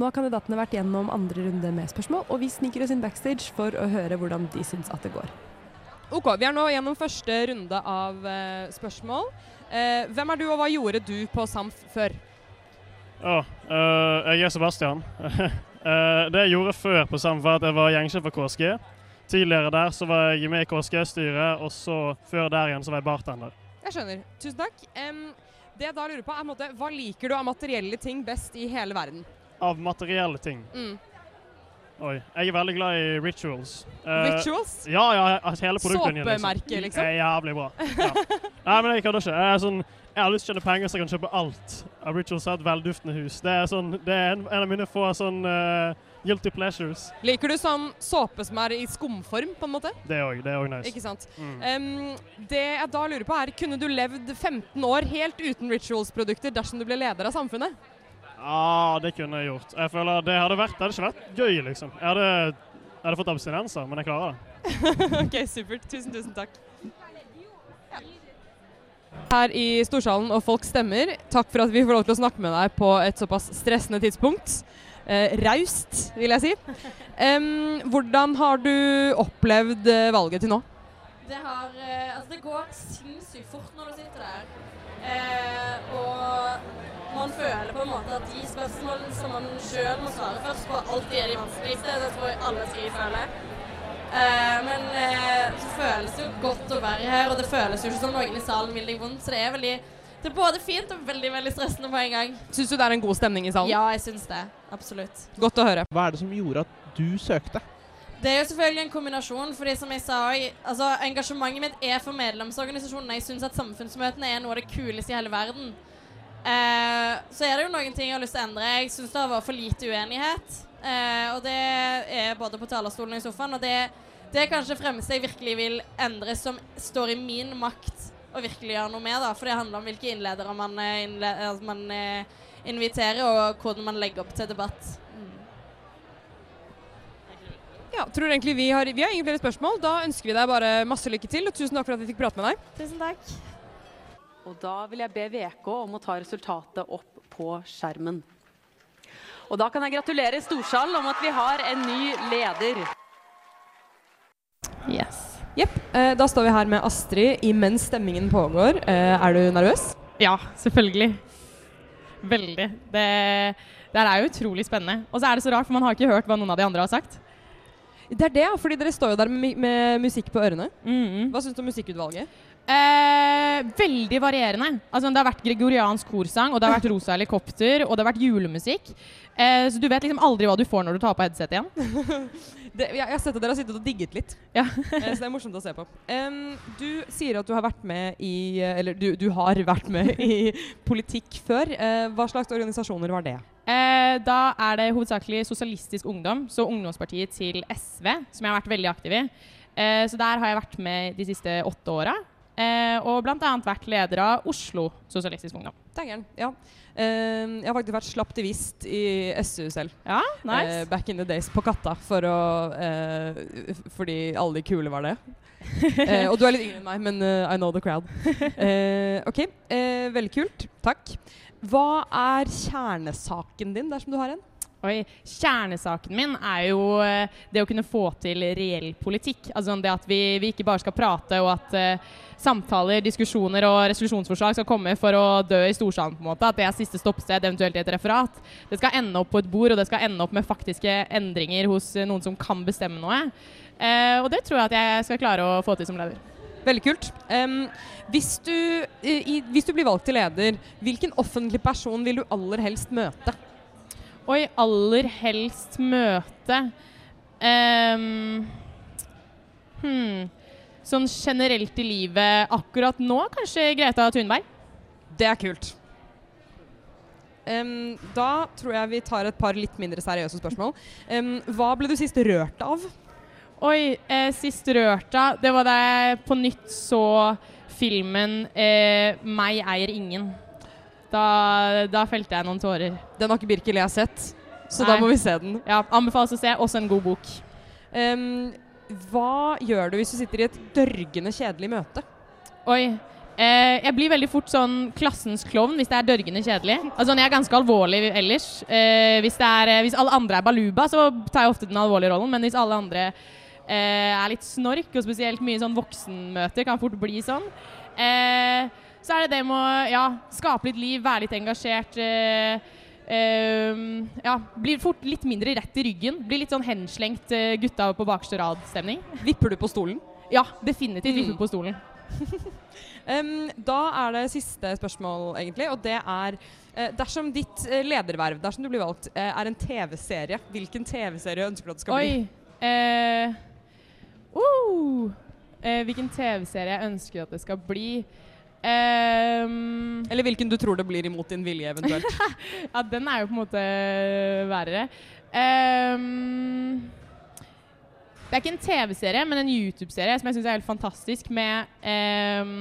Speaker 6: Nå har kandidatene vært gjennom andre runde med spørsmål, og vi sniker oss inn backstage for å høre hvordan de syns at det går. Ok, Vi er nå gjennom første runde av eh, spørsmål. Eh, hvem er du, og hva gjorde du på SAMF før?
Speaker 16: Ja, øh, jeg er Sebastian. Eh, det jeg gjorde før på SAM, var at jeg var gjengsjef for KSG. Tidligere der så var jeg med i KSG-styret, og så før der igjen så var jeg bartender.
Speaker 6: Jeg skjønner. Tusen takk. Em, det jeg da lurer på er, på en måte, Hva liker du av materielle ting best i hele verden?
Speaker 16: Av materielle ting.
Speaker 6: Mm.
Speaker 16: Oi. Jeg er veldig glad i rituals. Eh,
Speaker 6: Rituals?
Speaker 16: Ja, ja, at hele produktlinjen.
Speaker 6: Såpemerke, liksom?
Speaker 16: Det er jævlig bra. Ja. Nei, men jeg kødder ikke. Jeg, er sånn, jeg har lyst til å tjene penger så jeg kan kjøpe alt. av Rituals har et velduftende hus. Det er, sånn, det er en, en av mine få sånn eh, guilty pleasures.
Speaker 6: Liker du sånn såpe som er i skumform, på en måte?
Speaker 16: Det òg. Det er òg nice.
Speaker 6: Ikke sant?
Speaker 16: Mm.
Speaker 6: Em, det jeg da lurer på er, Kunne du levd 15 år helt uten rituals-produkter dersom du ble leder av samfunnet?
Speaker 16: Ja, Ah, det kunne jeg gjort. Jeg føler det hadde, vært, det hadde ikke vært gøy, liksom. Jeg hadde, jeg hadde fått abstinenser, men jeg klarer det.
Speaker 6: ok, supert. Tusen, tusen takk. Her i Storsalen og folk stemmer. Takk for at vi får lov til å snakke med deg på et såpass stressende tidspunkt. Eh, raust, vil jeg si. Em, hvordan har du opplevd eh, valget til nå?
Speaker 17: Det har eh, Altså, det går sinnssykt fort når du sitter der. Eh, og
Speaker 18: Man føler på en måte at de spørsmålene som man sjøl må svare først på, alltid er de vanskeligste. Det tror jeg alle sier føler. Eh, men eh, så føles det jo godt å være her, og det føles jo ikke som noen i salen vil deg vondt. Så det er veldig Det er både fint og veldig veldig stressende på en gang.
Speaker 6: Syns du det er en god stemning i salen?
Speaker 18: Ja, jeg syns det. Absolutt.
Speaker 6: Godt å høre.
Speaker 7: Hva er det som gjorde at du søkte?
Speaker 18: Det er jo selvfølgelig en kombinasjon, fordi som jeg sa også, altså, Engasjementet mitt er for medlemsorganisasjonene. Jeg syns at samfunnsmøtene er noe av det kuleste i hele verden. Eh, så er det jo noen ting jeg har lyst til å endre. Jeg syns det har vært for lite uenighet. Eh, og det er både på talerstolen og i sofaen. Og det, det er kanskje det fremste jeg virkelig vil endre, som står i min makt å virkelig gjøre noe med. da, For det handler om hvilke innledere man, eh, innle altså, man eh, inviterer, og hvordan man legger opp til debatt.
Speaker 6: Ja, tror egentlig vi har, vi har ingen flere spørsmål. Da ønsker vi deg bare masse lykke til, og tusen takk for at vi fikk prate med deg.
Speaker 18: Tusen takk.
Speaker 10: Og da vil jeg be VK om å ta resultatet opp på skjermen. Og da kan jeg gratulere Storsalen om at vi har en ny leder.
Speaker 19: Yes.
Speaker 6: Jepp. Eh, da står vi her med Astrid imens stemmingen pågår. Eh, er du nervøs?
Speaker 20: Ja, selvfølgelig. Veldig. Det, det her er jo utrolig spennende. Og så er det så rart, for man har ikke hørt hva noen av de andre har sagt.
Speaker 6: Det er det, ja, fordi dere står jo der med, mi- med musikk på ørene. Hva syns du om musikkutvalget?
Speaker 20: Mhm. Eh, veldig varierende. Altså, det har vært gregoriansk korsang, og det har vært rosa helikopter, og det har vært julemusikk. Eh, så du vet liksom aldri hva du får når du tar på headsetet igjen.
Speaker 6: Det, jeg, jeg har sett at dere har sittet og digget litt, Eh, så det er morsomt å se på. Em, du sier at du har vært med i eh, Eller du, du har vært med i politikk før. Eh, hva slags organisasjoner var det?
Speaker 20: Eh, da er det hovedsakelig Sosialistisk Ungdom, så ungdomspartiet til SV, som jeg har vært veldig aktiv i. Eh, så der har jeg vært med de siste åtte åra. Eh, og bl.a. vært leder av Oslo Sosialistisk Ungdom.
Speaker 6: Dægeren. Ja. Em, jeg har faktisk vært slaptivist i SU selv.
Speaker 20: Ja, nice.
Speaker 6: Eh, back in the days på Katta, for å, eh, f- fordi alle de kule var det. Eh, og du er litt yngre enn meg, men eh, I know the crowd. Eh, ok, eh, veldig kult. Takk. Hva er kjernesaken din, dersom du har en?
Speaker 20: Oi, Kjernesaken min er jo eh, det å kunne få til reell politikk. Altså det at vi, vi ikke bare skal prate, og at eh, samtaler, diskusjoner og resolusjonsforslag skal komme for å dø i storsalen. på en måte. At det er siste stoppsted, eventuelt i et referat. Det skal ende opp på et bord, og det skal ende opp med faktiske endringer hos eh, noen som kan bestemme noe. Eh, og det tror jeg at jeg skal klare å få til som leder.
Speaker 6: Veldig kult. Em, hvis, du, eh, i, hvis du blir valgt til leder, hvilken offentlig person vil du aller helst møte?
Speaker 20: Oi, aller helst møte Ehm, hmm. Sånn generelt i livet akkurat nå, kanskje Greta Thunberg?
Speaker 6: Det er kult. Em, da tror jeg vi tar et par litt mindre seriøse spørsmål. Em, hva ble du sist rørt av?
Speaker 20: Oi, eh, sist rørt av Det var da jeg på nytt så filmen eh, 'Meg eier ingen'. Da, da felte jeg noen tårer.
Speaker 6: Den har ikke Birkel jeg sett, så da må vi se den.
Speaker 20: Ja, Anbefales å se. Også en god bok.
Speaker 6: Em, hva gjør du hvis du sitter i et dørgende kjedelig møte?
Speaker 20: Oi. Eh, jeg blir veldig fort sånn klassens klovn hvis det er dørgende kjedelig. Altså, jeg er ganske alvorlig ellers. Eh, hvis, det er, eh, hvis alle andre er baluba, så tar jeg ofte den alvorlige rollen. Men hvis alle andre eh, er litt snork, og spesielt mye sånn voksenmøter kan fort bli sånn, eh, så er det det med å ja, skape litt liv, være litt engasjert. Eh, eh, ja, blir fort litt mindre rett i ryggen. Blir litt sånn henslengt eh, gutta på bakerste rad-stemning.
Speaker 6: Vipper du på stolen?
Speaker 20: Ja, definitivt
Speaker 6: Mm.
Speaker 20: vipper på stolen.
Speaker 6: Em, da er det siste spørsmål, egentlig, og det er eh, Dersom ditt eh, lederverv, dersom du blir valgt, eh, er en TV-serie, hvilken TV-serie ønsker du at det skal bli?
Speaker 20: Oi. Eh, oh. eh, hvilken TV-serie jeg ønsker at det skal bli? Ehm,
Speaker 6: Eller hvilken du tror det blir imot din vilje, eventuelt.
Speaker 20: ja, den er jo på en måte verre. Ehm, det er ikke en TV-serie, men en YouTube-serie som jeg syns er helt fantastisk, med ehm,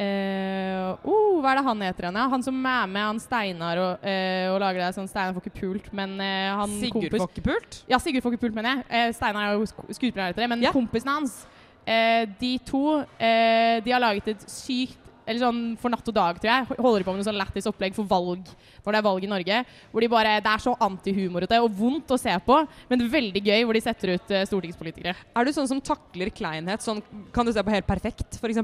Speaker 20: eh, oh, Hva er det han heter igjen? Ja? Han som er med han Steinar og, eh, og lager det sånn Steinar får ikke pult, men eh, han
Speaker 6: Sigurd
Speaker 20: kompis-
Speaker 6: får ikke pult?
Speaker 20: Ja, Sigurd får ikke pult, mener jeg. Eh, Steinar er jo sk- skuespiller, heter det, men kompisene hans eh, De to eh, De har laget et sykt eller sånn for natt og dag, tror jeg. Holder på med noe sånn lættis opplegg for valg når det er valg i Norge. Hvor de bare, Det er så antihumorete og vondt å se på, men veldig gøy hvor de setter ut eh, stortingspolitikere.
Speaker 6: Er du sånn som takler kleinhet? Sånn, kan du se på helt perfekt, f.eks.?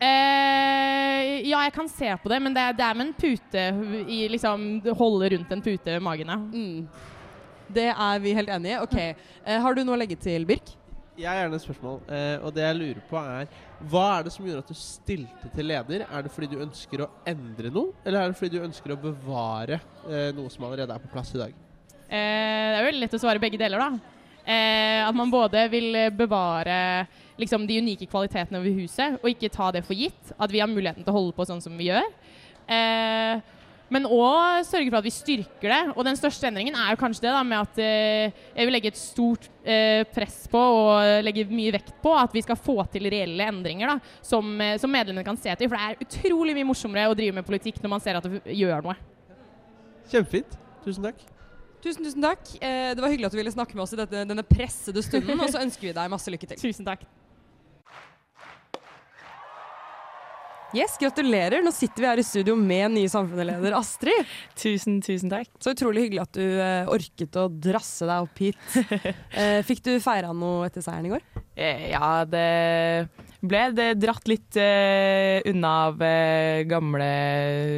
Speaker 21: Eh, ja, jeg kan se på det, men det er, det er med en pute i liksom Holde rundt en pute i magen, ja.
Speaker 6: Mm. Det er vi helt enig i. Ok, Eh, Har du noe å legge til, Birk?
Speaker 7: Jeg har gjerne et spørsmål, eh, og det jeg lurer på er Hva er det som gjorde at du stilte til leder? Er det fordi du ønsker å endre noe, eller er det fordi du ønsker å bevare eh, noe som allerede er på plass i dag?
Speaker 21: Eh, det er jo lett å svare begge deler, da. Eh, at man både vil eh, bevare liksom, de unike kvalitetene ved huset, og ikke ta det for gitt. At vi har muligheten til å holde på sånn som vi gjør. Eh, men òg sørge for at vi styrker det. Og den største endringen er jo kanskje det da, med at eh, jeg vil legge et stort eh, press på og legge mye vekt på at vi skal få til reelle endringer da, som, eh, som medlemmene kan se til. For det er utrolig mye morsommere å drive med politikk når man ser at det f- gjør noe.
Speaker 7: Kjempefint. Tusen takk.
Speaker 6: Tusen, tusen takk. Eh, det var hyggelig at du ville snakke med oss i dette, denne pressede stunden, og så ønsker vi deg masse lykke til.
Speaker 21: Tusen takk.
Speaker 6: Yes, gratulerer. Nå sitter vi her i studio med nye samfunnsleder Astrid.
Speaker 20: tusen, tusen takk.
Speaker 6: Så utrolig hyggelig at du eh, orket å drasse deg opp hit. Eh, fikk du feira noe etter seieren i går?
Speaker 20: Eh, Ja, det ble det dratt litt eh, unna av eh, gamle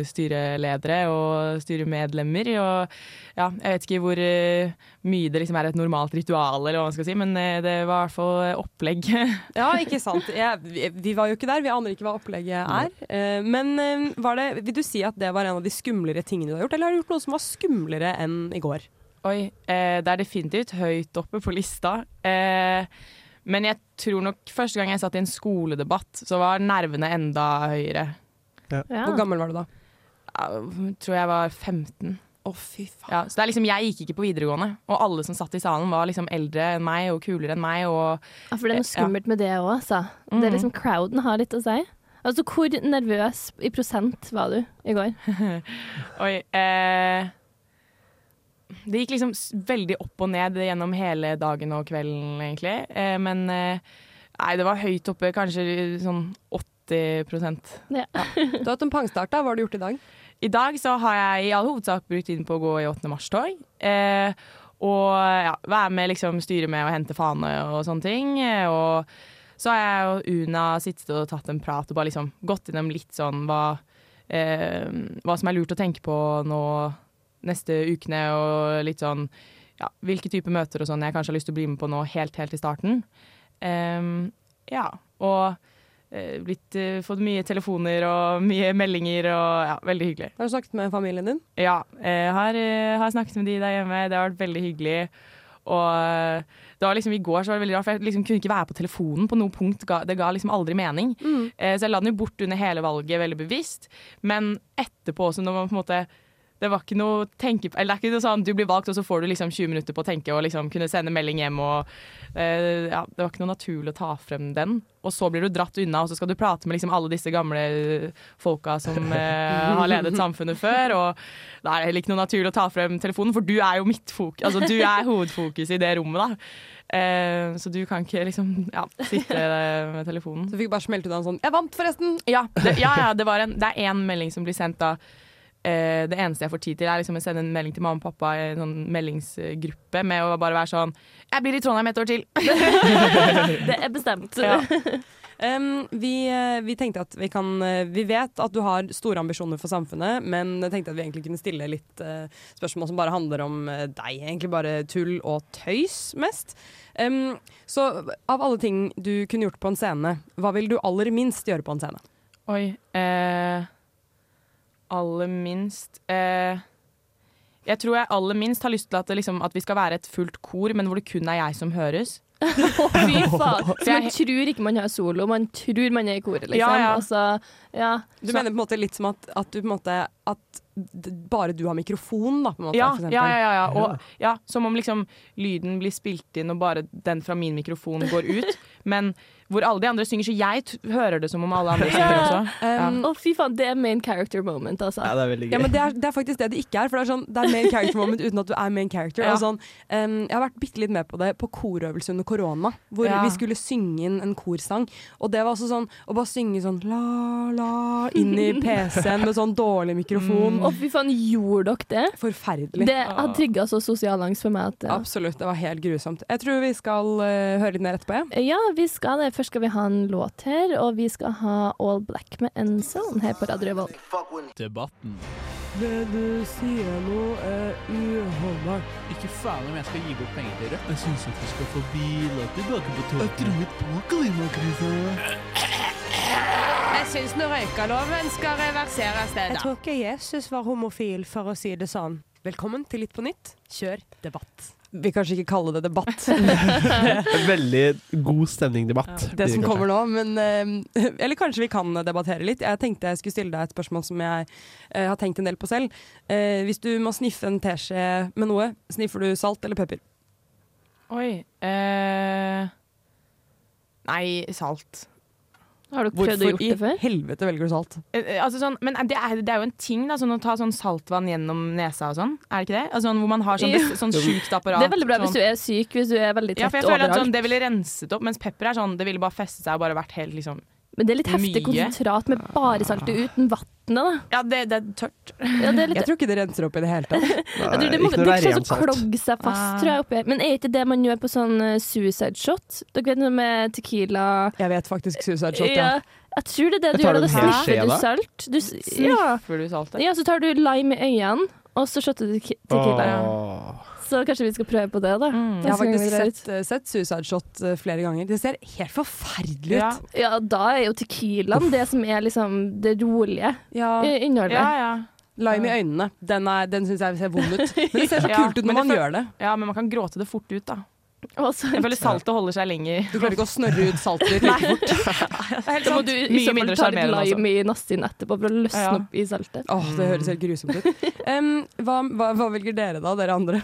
Speaker 20: styreledere og styremedlemmer. Og ja, jeg vet ikke hvor eh, mye det liksom er et normalt ritual, eller hva man skal si, men eh, det var i hvert fall opplegg.
Speaker 6: Ja, ikke sant. Jeg, vi- vi var jo ikke der, vi aner ikke hva opplegget er. Eh, Men eh, var det, vil du si at det var en av de skumlere tingene du har gjort, eller har du gjort noe som var skumlere enn i går?
Speaker 20: Oi, eh, det er definitivt høyt oppe på lista. Eh, men jeg tror nok første gang jeg satt i en skoledebatt, så var nervene enda høyere.
Speaker 6: Ja. Hvor gammel var du da?
Speaker 20: Jeg tror jeg var 15.
Speaker 6: Å, fy faen.
Speaker 20: Ja, så det er liksom, jeg gikk ikke på videregående, og alle som satt i salen var liksom eldre enn meg og kulere enn meg. Og,
Speaker 5: Ja, for det er noe skummelt med det òg, altså. Det
Speaker 20: Mhm.
Speaker 5: er liksom crowden har litt å si. Altså, hvor nervøs i prosent var du i går?
Speaker 20: Oi, eh, det gikk liksom s- veldig opp og ned gjennom hele dagen og kvelden, egentlig. Eh, men eh, nei, det var høyt oppe, kanskje sånn 80
Speaker 5: Ja.
Speaker 6: Du har hatt en pangstart, da. Hva har du gjort i dag?
Speaker 20: I dag så har jeg i all hovedsak brukt tiden på å gå i 8. mars-tog. Eh, og ja, være med, liksom styre med og hente fane og sånne ting. eh, Og så har jeg og Una sittet og tatt en prat og bare liksom gått innom litt sånn hva, eh, hva som er lurt å tenke på nå neste ukene, og litt sånn ja, hvilke typer møter og sånn jeg kanskje har lyst til å bli med på nå helt, helt i starten. Ehm, ja, og eh, blitt, eh, fått mye telefoner og mye meldinger og ja, veldig hyggelig.
Speaker 6: Har du snakket med familien din?
Speaker 20: Ja, eh, har, eh, har snakket med de der hjemme. Det har vært veldig hyggelig. Og eh, det var liksom, I går så var det veldig rart, for jeg liksom kunne ikke være på telefonen på noe punkt. Ga, det ga liksom aldri mening.
Speaker 11: Mm.
Speaker 20: Eh, så jeg la den jo bort under hele valget veldig bevisst. Men etterpå også, når man på en måte det var ikke noe tenke på, eller det er ikke noe sånn, Du blir valgt, og så får du liksom 20 minutter på å tenke og liksom kunne sende melding hjem. og eh, ja, Det var ikke noe naturlig å ta frem den. Og så blir du dratt unna, og så skal du prate med liksom alle disse gamle folka som eh, har ledet samfunnet før. og Da er det heller ikke noe naturlig å ta frem telefonen, for du er jo mitt fokus, altså du er hovedfokus i det rommet. da. Eh, så du kan ikke liksom ja, sitte eh, med telefonen.
Speaker 6: Så fikk bare smelte unna en sånn 'jeg vant, forresten'.
Speaker 20: Ja, det, ja, ja det, var en, det er én melding som blir sendt da. Eh, det eneste jeg får tid til, er liksom å sende en melding til mamma og pappa i en sånn meldingsgruppe med å bare være sånn 'Jeg blir i Trondheim et år til'.
Speaker 5: Det er bestemt.
Speaker 6: Um, vi, eh, vi tenkte at vi kan eh, Vi vet at du har store ambisjoner for samfunnet, men jeg tenkte at vi egentlig kunne stille litt eh, spørsmål som bare handler om eh, deg. Egentlig bare tull og tøys mest. Um, så av alle ting du kunne gjort på en scene, hva vil du aller minst gjøre på en scene?
Speaker 20: Oi. Eh, aller minst eh, Jeg tror jeg aller minst har lyst til at, det liksom, at vi skal være et fullt kor, men hvor det kun er jeg som høres.
Speaker 5: Fy faen.
Speaker 20: Så
Speaker 5: Så man
Speaker 20: jeg-
Speaker 5: tror ikke man har solo, man tror man er i koret, liksom.
Speaker 20: Ja, ja.
Speaker 5: Og så, ja.
Speaker 6: Du mener på en måte litt som at, at du på en måte At d- bare du har mikrofon, da, på en måte?
Speaker 20: Ja,
Speaker 6: for
Speaker 20: ja,
Speaker 6: eksempel.
Speaker 20: ja, ja, ja. Og, ja. Som om liksom lyden blir spilt inn, og bare den fra min mikrofon går ut. Men hvor alle de andre synger, så jeg t hører det som om alle andre synger også. Ja.
Speaker 5: Um, Å, fy faen, det er main character moment, altså.
Speaker 20: Ja, det er veldig
Speaker 6: Ja, men det er, det er faktisk det det ikke er. For Det er sånn, det er main character moment uten at du er main character.
Speaker 5: Ja.
Speaker 6: Og sånn, em, jeg har vært bitte litt med på det på korøvelse under korona, hvor
Speaker 20: Ja.
Speaker 6: vi skulle synge inn en korsang. Og det var også sånn å bare synge sånn la, la inn i PC-en med sånn dårlig mikrofon.
Speaker 5: Å, fy faen, gjorde dere det?
Speaker 6: Forferdelig.
Speaker 5: Mm. Det har trigga så sosial angst for meg at eh, ja.
Speaker 6: Absolutt, det var helt grusomt. Jeg tror vi skal eh, høre litt mer etterpå, ja.
Speaker 5: Ja, vi skal det. Først skal vi ha en låt her, og vi skal ha All Black med Endzone her på Radio Revolt.
Speaker 4: Debatten.
Speaker 8: Det du sier nå er uholdbart.
Speaker 4: Ikke faen om jeg skal gi bort penger til Rødt.
Speaker 8: Jeg syns at vi skal få biler tilbake på toget. Jeg truet på klimakrisa.
Speaker 22: Jeg syns nå røykeloven skal reverseres, det,
Speaker 6: Jeg
Speaker 22: da.
Speaker 6: tror ikke Jesus var homofil, for å si det sånn. Velkommen til Litt på nytt. Kjør debatt. Vil kanskje ikke kalle det debatt.
Speaker 7: Veldig god stemning-debatt.
Speaker 6: det som kommer nå, men eh, Eller kanskje vi kan debattere litt. Jeg tenkte jeg skulle stille deg et spørsmål som jeg eh, har tenkt en del på selv. Eh, hvis du må sniffe en teskje med noe, sniffer du salt eller pepper?
Speaker 20: Oi. eh, nei, salt.
Speaker 5: Har dere
Speaker 20: prøvd å gjort det
Speaker 6: i helvete velger du salt?
Speaker 20: Eh, eh, Altså sånn, men det er, det er jo en ting da, sånn å ta sånn saltvann gjennom nesa og sånn. Er det ikke det? Altså, sånn, hvor man har sånn,
Speaker 5: Jo.
Speaker 20: bes- sånn sjukt apparat.
Speaker 5: Det er veldig bra hvis
Speaker 20: sånn.
Speaker 5: du er syk, hvis du er veldig
Speaker 20: Ja,
Speaker 5: tett
Speaker 20: for jeg føler at
Speaker 5: overalt.
Speaker 20: sånn, Det ville renset opp, mens pepper er sånn, det ville bare festet seg og bare vært helt liksom
Speaker 5: Men det er litt heftig
Speaker 20: mye. Ah.
Speaker 5: konsentrat med bare saltet uten vannet, da.
Speaker 20: Ja, det, er tørt.
Speaker 5: det er litt,
Speaker 6: Jeg tror ikke det renser opp i det hele tatt.
Speaker 5: Jeg tror det, må, det er sånn som klogger seg fast,
Speaker 20: Ah.
Speaker 5: tror jeg. Oppi. her. Men er ikke det man gjør på sånn eh, suicide shot? Dere vet noe med tequila
Speaker 6: Jeg vet faktisk suicide shot, ja.
Speaker 5: Jeg tror det er det
Speaker 6: Jeg
Speaker 5: du
Speaker 6: tar det
Speaker 5: gjør. Da
Speaker 6: med skje,
Speaker 5: sniffer du
Speaker 6: da.
Speaker 5: salt. Du, s- ja.
Speaker 20: Sniffer du saltet?
Speaker 5: ja, så tar du lime i øynene, og så shotter du tequi- tequila. Så kanskje vi skal prøve på det, da.
Speaker 20: Mm.
Speaker 5: Neste
Speaker 6: Jeg har
Speaker 5: gang vi
Speaker 6: faktisk
Speaker 5: drar ut.
Speaker 6: sett, sett Suicide Shot eh, flere ganger. Det ser helt forferdelig ut.
Speaker 5: Ja. ja, da er jo tequilaen det som er liksom det rolige i- innholdet.
Speaker 6: Lime i øynene. Den, er- den syns jeg ser vond ut. Men det ser så
Speaker 20: Ja,
Speaker 6: kult ut
Speaker 20: men
Speaker 6: når man
Speaker 20: det
Speaker 6: gjør det.
Speaker 20: Ja, men man kan gråte det fort ut, da.
Speaker 5: Jeg
Speaker 20: føler saltet holder seg lenger.
Speaker 6: Du klarer ikke å snørre ut saltet ditt
Speaker 20: Nei.
Speaker 6: like fort.
Speaker 20: Helt
Speaker 5: Da må
Speaker 20: sant.
Speaker 5: du i
Speaker 20: Mye
Speaker 5: så fall ta
Speaker 20: mindre
Speaker 5: litt
Speaker 20: sjarmerende, altså.
Speaker 5: lime i nassen etterpå for å løsne
Speaker 6: Ja.
Speaker 5: opp i saltet.
Speaker 6: Åh, det høres helt grusomt ut. Em, hva, hva, hva velger dere da, dere andre?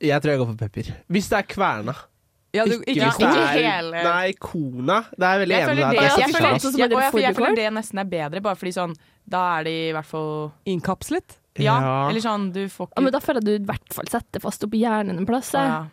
Speaker 7: Jeg tror jeg går for pepper. Hvis det er kverna.
Speaker 6: Ja, du- ikke
Speaker 7: hvis
Speaker 6: korn.
Speaker 7: det
Speaker 20: Ikke
Speaker 7: er
Speaker 20: hele-
Speaker 7: Nei, korna. Det er jeg veldig
Speaker 20: Jeg
Speaker 7: enig
Speaker 20: føler
Speaker 7: med
Speaker 20: det,
Speaker 7: deg. at
Speaker 20: jeg,
Speaker 7: det er
Speaker 20: føler,
Speaker 7: salt.
Speaker 20: jeg, jeg, for jeg føler det nesten er bedre, bare fordi sånn Da er de i hvert fall
Speaker 6: Innkapslet?
Speaker 20: Ja,
Speaker 7: Ja.
Speaker 20: eller sånn du får
Speaker 5: Ja, men da føler jeg du i hvert fall setter fast opp i hjernen en plass. jeg.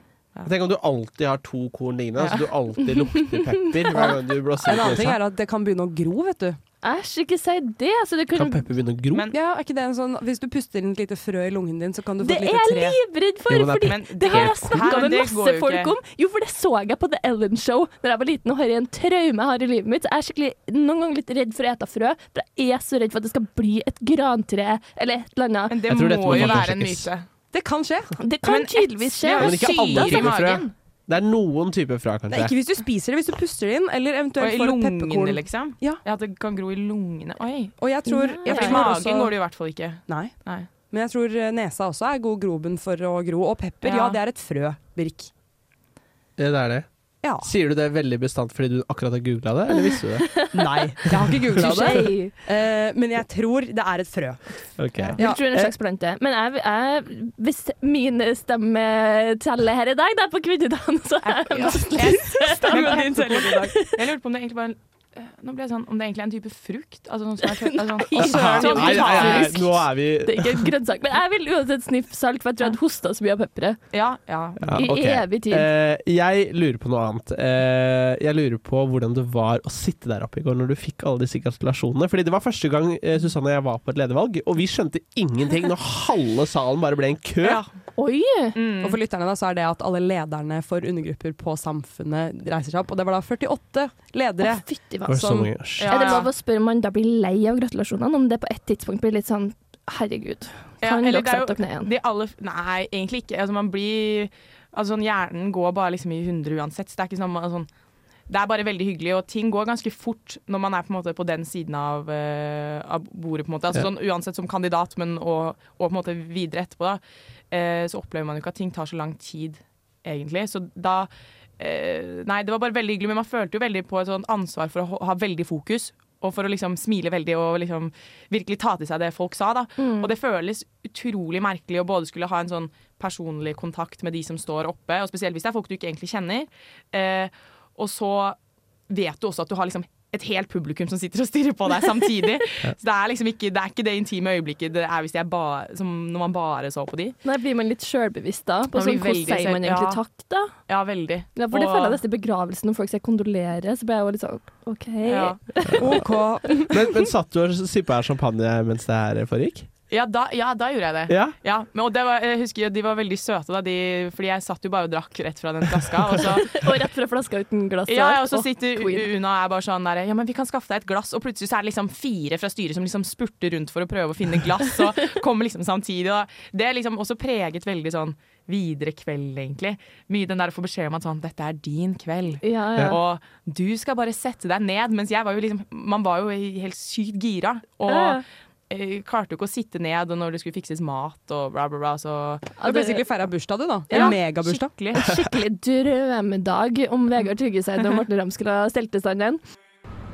Speaker 7: Tenk om du alltid har to korn liggende, så du alltid lukter pepper hver gang du blåser
Speaker 6: En
Speaker 7: ut
Speaker 6: annen ting
Speaker 7: nesa.
Speaker 6: er at det kan begynne å gro, vet du.
Speaker 5: Æsj, ikke si det. Altså, det
Speaker 7: Kan pepper begynne å gro?
Speaker 6: ja, er ikke det en sånn, hvis du puster inn et lite frø i lungen din, så kan du få
Speaker 5: Det
Speaker 6: et
Speaker 5: er
Speaker 6: lite
Speaker 5: jeg
Speaker 6: tre.
Speaker 5: livredd for!
Speaker 6: Jo, men det er
Speaker 5: fordi
Speaker 6: men
Speaker 5: det,
Speaker 6: det-
Speaker 5: har jeg snakka
Speaker 6: Hæ?
Speaker 5: med
Speaker 6: Det går
Speaker 5: masse
Speaker 6: jo
Speaker 5: folk
Speaker 6: ikke.
Speaker 5: om. Jo, for det så jeg på The Ellen Show da jeg var liten og har en traume jeg har i livet mitt. Jeg er skikkelig, noen ganger litt redd for å ete frø, for jeg er så redd for at det skal bli et grantre eller et eller annet.
Speaker 20: Men det Jeg tror dette må må jo faktisk være en sjekkes.
Speaker 6: Det kan skje.
Speaker 5: Det kan
Speaker 20: Men et-
Speaker 5: tydeligvis skje.
Speaker 20: Ja,
Speaker 7: Men ikke alle
Speaker 20: syre i
Speaker 7: typer frø.
Speaker 20: magen.
Speaker 7: Det er noen typer frø,
Speaker 6: Nei, ikke
Speaker 7: kanskje.
Speaker 6: hvis du spiser det, hvis du puster det inn, eller
Speaker 20: Og
Speaker 6: eventuelt
Speaker 20: i
Speaker 6: får et
Speaker 20: lungene,
Speaker 6: pepperkorn.
Speaker 20: liksom?
Speaker 6: Ja.
Speaker 20: At det kan gro i lungene. Oi.
Speaker 6: Og jeg tror,
Speaker 20: Ja,
Speaker 6: jeg
Speaker 20: for I
Speaker 6: tror
Speaker 20: magen
Speaker 6: også-
Speaker 20: går det i hvert fall ikke.
Speaker 6: Nei.
Speaker 20: Nei.
Speaker 6: Men jeg tror eh, nesa også er god grobunn for å gro. Og pepper, ja,
Speaker 20: Ja.
Speaker 6: det er et frø, Birk.
Speaker 7: Ja, det er det.
Speaker 6: Ja.
Speaker 7: Sier du det veldig bestandt fordi du akkurat har googla det, eller visste du det?
Speaker 6: Nei, jeg har ikke googla det.
Speaker 5: Touché.
Speaker 6: Eh, men jeg tror det er et frø.
Speaker 7: Ok.
Speaker 5: Jeg tror det er en slags plante. Men jeg, jeg, hvis min stemme teller her i dag, det er på kvinnedagen, så er jeg
Speaker 20: Stemmen din teller i dag. Jeg lurte på om det egentlig var en øh, nå ble jeg sånn, Om det egentlig er en type frukt? Altså sånn som er tørt, altså,
Speaker 5: Nei.
Speaker 20: Å, søren,
Speaker 5: Sånn
Speaker 7: Nei, nei, nei,
Speaker 5: botanisk.
Speaker 7: nå er vi
Speaker 5: Det er ikke en grønnsak. Men jeg vil uansett sniffe salt, for jeg tror jeg hadde hosta så mye av pepperet.
Speaker 20: Ja, ja.
Speaker 7: Ja,
Speaker 5: I
Speaker 7: ok.
Speaker 5: evig tid.
Speaker 7: Eh, jeg lurer på noe annet. Eh, jeg lurer på hvordan det var å sitte der oppe i går når du fikk alle disse gratulasjonene. Fordi det var første gang eh, Susanne og jeg var på et ledervalg, og vi skjønte ingenting når halve salen bare ble en kø.
Speaker 5: Oi!
Speaker 20: Mm.
Speaker 6: Og for lytterne da, så er det at alle lederne for undergrupper på Samfunnet reiser seg opp. Og det var da 48 ledere.
Speaker 5: Å, fytti hva.
Speaker 7: Det var så mye. Shit.
Speaker 5: Er det lov å spørre om man da blir lei av gratulasjonene? Om det på et tidspunkt blir litt sånn Herregud,
Speaker 20: Ja,
Speaker 5: kan
Speaker 20: eller
Speaker 5: dere
Speaker 20: det er jo-
Speaker 5: sette dere ned igjen?
Speaker 20: De aller, nei, egentlig ikke. Altså, man blir, altså, sånn, hjernen går bare liksom i hundre uansett. Så det, er ikke sånn, man- sånn, det er bare veldig hyggelig, og ting går ganske fort når man er på, en måte, på den siden av, eh, av bordet. På en måte.
Speaker 12: Ja.
Speaker 20: Altså, sånn, uansett som kandidat, men og, og på en måte videre etterpå, da, eh, så opplever man jo ikke at ting tar så lang tid, egentlig. Så da eh, Nei, det var bare veldig hyggelig, men man følte jo veldig på et sånt ansvar for å ho- ha veldig fokus. Og for å liksom smile veldig og liksom virkelig ta til seg det folk sa. da.
Speaker 12: Mm.
Speaker 20: Og det føles utrolig merkelig å både skulle ha en sånn personlig kontakt med de som står oppe, og spesielt hvis det er folk du ikke egentlig kjenner. Eh, og så vet du også at du har liksom et helt publikum som sitter og stirrer på deg samtidig. Så det er liksom ikke det, er ikke det intime øyeblikket det er hvis jeg ba, som når man bare så på de.
Speaker 5: Nei, blir man litt sjølbevisst da? På
Speaker 20: Man
Speaker 5: sånn,
Speaker 20: blir
Speaker 5: hvordan
Speaker 20: veldig
Speaker 5: sier man
Speaker 20: selv-
Speaker 5: egentlig
Speaker 20: ja.
Speaker 5: takk, da?
Speaker 20: Ja, veldig.
Speaker 5: Ja, for det
Speaker 20: Og-
Speaker 5: føler jeg nesten i begravelsen, når folk sier kondolerer, så blir jeg jo litt sånn OK.
Speaker 20: Ja.
Speaker 6: OK.
Speaker 7: Men, men satt du og sippa champagne mens det her foregikk?
Speaker 20: Ja da, ja, da gjorde jeg det.
Speaker 7: Ja?
Speaker 20: men, og det var, jeg husker jo, De var veldig søte, da, de, fordi jeg satt jo bare og drakk rett fra den flaska. Og, så,
Speaker 5: og rett fra flaska uten glass.
Speaker 20: ja, ja,
Speaker 5: her.
Speaker 20: og så
Speaker 5: Å,
Speaker 20: sitter
Speaker 5: queen.
Speaker 20: U- Una og er bare sånn der, Ja, men vi kan skaffe deg et glass. Og plutselig så er det liksom fire fra styret som liksom spurter rundt for å prøve å finne glass, og kommer liksom samtidig. Da. Det er liksom også preget veldig sånn videre kveld, egentlig. Mye den der å få beskjed om at sånn Dette er din kveld.
Speaker 5: ja.
Speaker 20: Og du skal bare sette deg ned. Mens jeg var jo liksom Man var jo helt sykt gira. Og
Speaker 5: Ja, ja.
Speaker 20: eh, klarte jo ikke å sitte ned, og når det skulle fikses mat og bla, bla, bla, så
Speaker 6: Du har basically feira bursdag, du, da. En
Speaker 20: Ja,
Speaker 6: megabursdag.
Speaker 20: skikkelig.
Speaker 5: Skikkelig drømmedag om Vegard Tryggeseid og Morten Ramskrad stelte standen.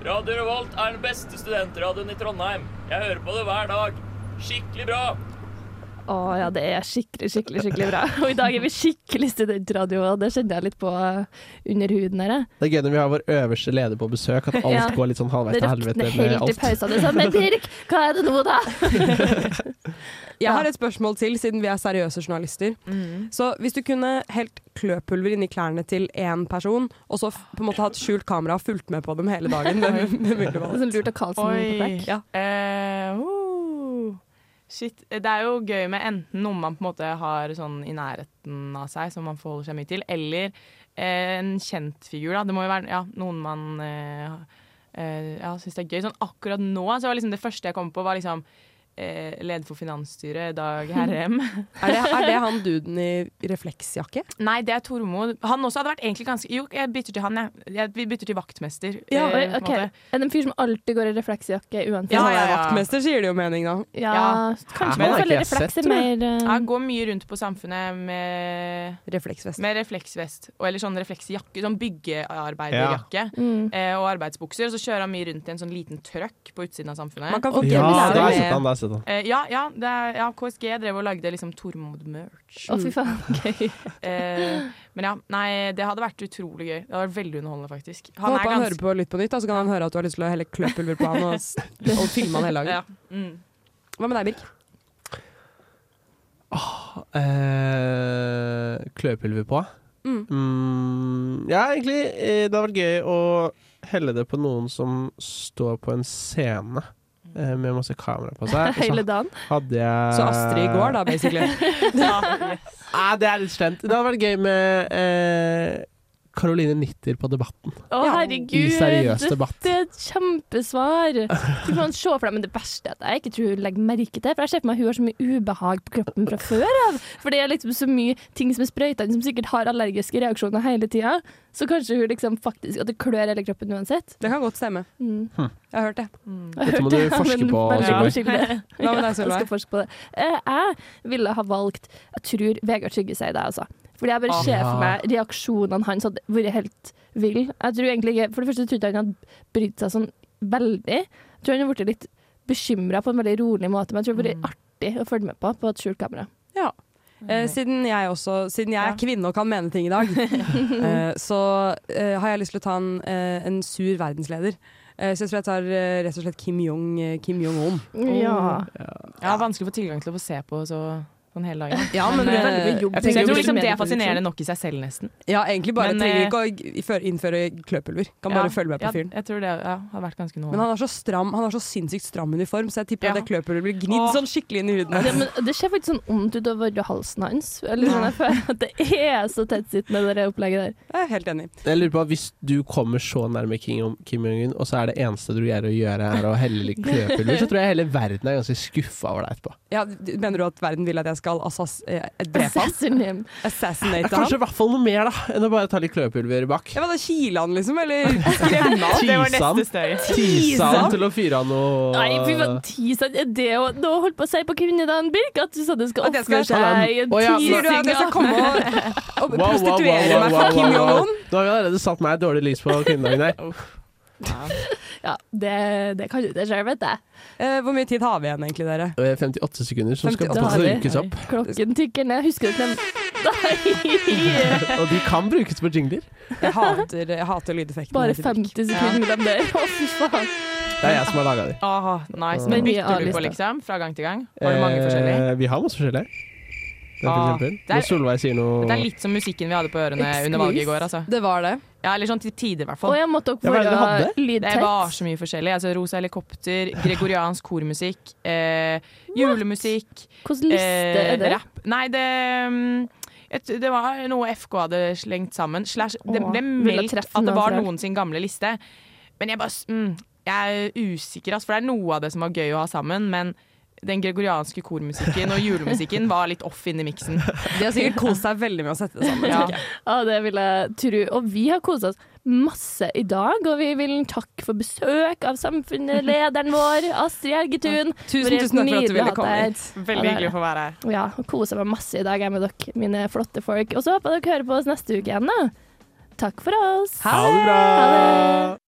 Speaker 23: Radio Revolt er den beste studentradioen i Trondheim. Jeg hører på det hver dag. Skikkelig bra!
Speaker 5: Å ja, det er skikkelig, skikkelig skikkelig bra. Og i dag er vi skikkelig studentradio, og det kjenner jeg litt på eh, under huden her. jeg.
Speaker 7: Det er gøy når vi har vår øverste leder på besøk, at alt
Speaker 5: Ja.
Speaker 7: går litt sånn halvveis
Speaker 5: Det
Speaker 7: til helvete
Speaker 5: rakner
Speaker 7: med
Speaker 5: helt i
Speaker 7: alt.
Speaker 5: pausa. Det er sånn, men Dirk, hva er det nå, da?
Speaker 6: Jeg har et spørsmål til, siden vi er seriøse journalister. Så hvis du kunne helt kløpulver inni klærne til én person, og så f- på en måte hatt skjult kamera og fulgt med på dem hele dagen, hvem hvem ville du valgt?
Speaker 5: Sånn lurt av Karlsen på flekk.
Speaker 20: Ja. Eh, oh. Shit. Det er jo gøy med enten noe man på en måte har sånn i nærheten av seg, som man forholder seg mye til, eller eh, en kjent figur. Da. Det må jo være ja, noen man eh, eh, ja, syns det er gøy. Sånn akkurat nå så var liksom det første jeg kom på, var liksom eh, leder for finansstyret, Dag Herrem.
Speaker 6: Er det, er det han duden i refleksjakke?
Speaker 20: Nei, det er Tormod. Han også hadde vært egentlig ganske Jo, jeg bytter til han, jeg. jeg vi bytter til vaktmester.
Speaker 5: Ja,
Speaker 20: eh, på en
Speaker 5: ok.
Speaker 20: måte.
Speaker 5: Er det en fyr som alltid går i refleksjakke uansett?
Speaker 6: Ja, ja, ja. Vaktmester, sier det jo mening, da.
Speaker 5: Ja, kanskje man føler refleks er mer eh,
Speaker 20: Han går mye rundt på samfunnet med
Speaker 6: Refleksvest.
Speaker 20: Med refleksvest og, eller sånn refleksjakke. Sånn byggearbeiderjakke
Speaker 6: Ja. Mm.
Speaker 20: eh, og arbeidsbukser. Og så kjører han mye rundt i en sånn liten trøkk på utsiden av samfunnet.
Speaker 6: Man kan få
Speaker 7: Ja, genser. der har jeg sett han, der har jeg sett han.
Speaker 20: Eh, ja, ja, det er, ja, KSG drev og lagde liksom Tormod-merch.
Speaker 5: Å, fy faen, gøy.
Speaker 20: eh, men ja, nei, det hadde vært utrolig gøy. Det hadde vært veldig underholdende, faktisk.
Speaker 6: Han Håper han hører
Speaker 20: gans-
Speaker 6: på Lytt på nytt, da, så kan han høre at du har lyst til å helle kløpulver på han og, s- og filme han hele dagen.
Speaker 20: Ja. Mm.
Speaker 6: Hva med deg, Birk?
Speaker 7: Eh, kløpulver på?
Speaker 6: Mm.
Speaker 7: Mm, ja, egentlig. eh, Det hadde vært gøy å helle det på noen som står på en scene eh, med masse kamera på seg. Og så
Speaker 5: Hele dagen.
Speaker 7: Hadde jeg
Speaker 6: Så Astrid i går, da, basically.
Speaker 7: Nei, Ah, det er litt slemt. Det hadde vært gøy med eh, Karoline Nitter på Debatten.
Speaker 5: Å, herregud.
Speaker 7: I seriøs debatt.
Speaker 5: Det er et kjempesvar. Du kan se for deg, men det verste er at jeg ikke tror hun legger merke til For jeg ser for meg hun har så mye ubehag på kroppen fra før av. For det er liksom så mye ting som er sprøyta inn, som sikkert har allergiske reaksjoner hele tida. Så kanskje hun liksom faktisk At det klør hele kroppen uansett.
Speaker 6: Det kan godt stemme.
Speaker 5: Mm.
Speaker 7: Hm.
Speaker 6: Jeg har hørt det.
Speaker 5: Jeg
Speaker 7: Dette
Speaker 5: hørte
Speaker 7: må du
Speaker 5: det, men
Speaker 7: forske på,
Speaker 5: bare
Speaker 7: Solveig.
Speaker 5: unnskyld det.
Speaker 6: Hva med
Speaker 5: Ja,
Speaker 6: deg, Solveig?
Speaker 5: Jeg skal forske på det. Eh, Jeg ville ha valgt Jeg tror Vegard Trygge sier det, altså. Fordi jeg bare ser for meg reaksjonene hans hadde vært helt vill. Jeg tror egentlig ikke For det første tror jeg ikke han hadde brydd seg sånn veldig. Jeg tror han hadde blitt litt bekymra på en veldig rolig måte, men jeg tror det hadde vært artig å følge med på på et skjult kamera.
Speaker 6: Ja. Eh, siden jeg også Siden jeg er kvinne og kan mene ting i dag, eh, så eh, har jeg lyst til å ta en, eh, en sur verdensleder. Eh, så jeg tror jeg tar eh, rett og slett Kim Jong- eh, Kim Jong-un.
Speaker 20: Ja. ja, vanskelig å få tilgang til å få se på så, sånn hele dagen.
Speaker 6: Ja, men,
Speaker 20: eh,
Speaker 6: veldig mye
Speaker 20: jeg,
Speaker 6: jobb.
Speaker 20: tenker, jeg tror liksom det er
Speaker 6: Medieproduksjon.
Speaker 20: fascinerende nok i seg selv, nesten.
Speaker 6: Ja, egentlig bare.
Speaker 20: Men,
Speaker 6: trenger ikke å g- føre- innføre kløpulver. Kan bare
Speaker 20: Ja,
Speaker 6: følge med på
Speaker 20: ja,
Speaker 6: fyren.
Speaker 20: Jeg tror det ja, har vært ganske noe.
Speaker 6: Men han har så stram Han har så sinnssykt stram uniform, så jeg tipper
Speaker 20: Ja.
Speaker 6: at det kløpulveret blir gnidd
Speaker 20: Åh.
Speaker 6: sånn skikkelig inn i huden.
Speaker 5: Det, men det ser faktisk sånn ondt ut over halsen hans. Eller sånn, jeg føler at det er så tettsittende, det der opplegget der.
Speaker 6: Jeg er helt enig.
Speaker 7: Jeg lurer på, Hvis du kommer så nærme Kim Kim Jong-un, og så er det eneste du greier å gjøre, er å helle litt kløpulver, så tror jeg hele verden er ganske skuffa over deg etterpå.
Speaker 6: Ja, d- mener du at verden vil at jeg skal assass... Eh, drepe han?
Speaker 5: Synonym.
Speaker 7: Det
Speaker 6: Assassinate
Speaker 7: er kanskje
Speaker 6: han?
Speaker 7: i hvert fall noe mer da enn å bare ta litt kløpulver bak.
Speaker 6: Ja, men da Kile han, liksom? Eller skremme han?
Speaker 7: Tise han til å fyre av noe
Speaker 5: Nei, fy faen, tisdag er det jo Nå holdt på å si på kvinnedagen, Birk, at du sa du skal
Speaker 6: At jeg skal
Speaker 5: oppføre deg i en
Speaker 7: Å ja, nå-
Speaker 6: Sier du at jeg skal komme og, og
Speaker 7: Wow, wow,
Speaker 6: prostituere
Speaker 7: wow,
Speaker 6: meg
Speaker 7: wow,
Speaker 6: for Kim
Speaker 7: wow, wow.
Speaker 6: Jong-un?
Speaker 7: Nå har vi allerede satt meg i dårlig lys på kvinnedagen her.
Speaker 5: Ja, det, det kan du ikke selv, vet jeg.
Speaker 6: Eh, hvor mye tid har vi igjen egentlig, dere?
Speaker 7: Og jeg er 58 Eh, sekunder som skal
Speaker 6: 58. Da
Speaker 7: passe til
Speaker 6: har
Speaker 7: å
Speaker 6: vi-
Speaker 7: rykes opp.
Speaker 5: Klokken tikker ned. Husker du klem... Nei!
Speaker 7: Og de kan brukes på jingler.
Speaker 6: Jeg hater, jeg hater lydeffekten.
Speaker 5: Bare 50 sekunder mellom der. Å, fy faen.
Speaker 7: Det er jeg som har laga de.
Speaker 20: Aha, nice.
Speaker 7: Men
Speaker 20: Men
Speaker 7: vi
Speaker 20: bytter
Speaker 7: har
Speaker 20: du på,
Speaker 7: lista.
Speaker 20: liksom? Fra gang til gang? Var det mange forskjellige?
Speaker 7: Eh, Vi har masse forskjellige. Den, for
Speaker 20: Ah,
Speaker 7: eksempel.
Speaker 20: det er-
Speaker 7: Når Solveig sier noe
Speaker 20: Det er litt som musikken vi hadde på ørene under valget i går, altså.
Speaker 6: Det var det.
Speaker 20: Ja, eller sånn til tider, i hvert fall.
Speaker 5: Og jeg måtte også Ja, hva er det dere høre hadde? lydtekst.
Speaker 20: Det var så mye forskjellig. Altså, Rosa helikopter, gregoriansk kormusikk, eh, julemusikk
Speaker 5: Hvordan liste
Speaker 20: Eh,
Speaker 5: er det?
Speaker 20: Rap. Nei, det mm, jeg t- det var noe FK hadde slengt sammen. Slash, det
Speaker 5: Åh,
Speaker 20: ble
Speaker 5: ville
Speaker 20: meldt
Speaker 5: treffe
Speaker 20: at det
Speaker 5: noen
Speaker 20: var
Speaker 5: fra-
Speaker 20: noen sin gamle liste. Men jeg bare s- mm, Jeg er usikker, ass, for det er noe av det som var gøy å ha sammen. Men den gregorianske kormusikken og julemusikken var litt off inni miksen.
Speaker 6: De har sikkert kost seg veldig med å sette det sammen.
Speaker 5: Ja.
Speaker 6: tenker jeg.
Speaker 5: det vil jeg tro. Og vi har kosa oss masse i dag, og vi vil takke for besøk av samfunnslederen vår, Astrid Helgetun. Det
Speaker 20: Tusen,
Speaker 5: var helt
Speaker 20: tusen takk for at du
Speaker 5: nydelig
Speaker 20: ville
Speaker 5: ha
Speaker 20: komme
Speaker 5: deg her.
Speaker 20: hit. Veldig
Speaker 5: Ja, det er
Speaker 20: hyggelig å
Speaker 5: det.
Speaker 20: få være her.
Speaker 5: Ja, og kosa meg masse i dag jeg med dere, mine flotte folk. Og så håper jeg dere hører på oss neste uke igjen, da. Takk for oss.
Speaker 8: Ha det bra!
Speaker 5: Ha det.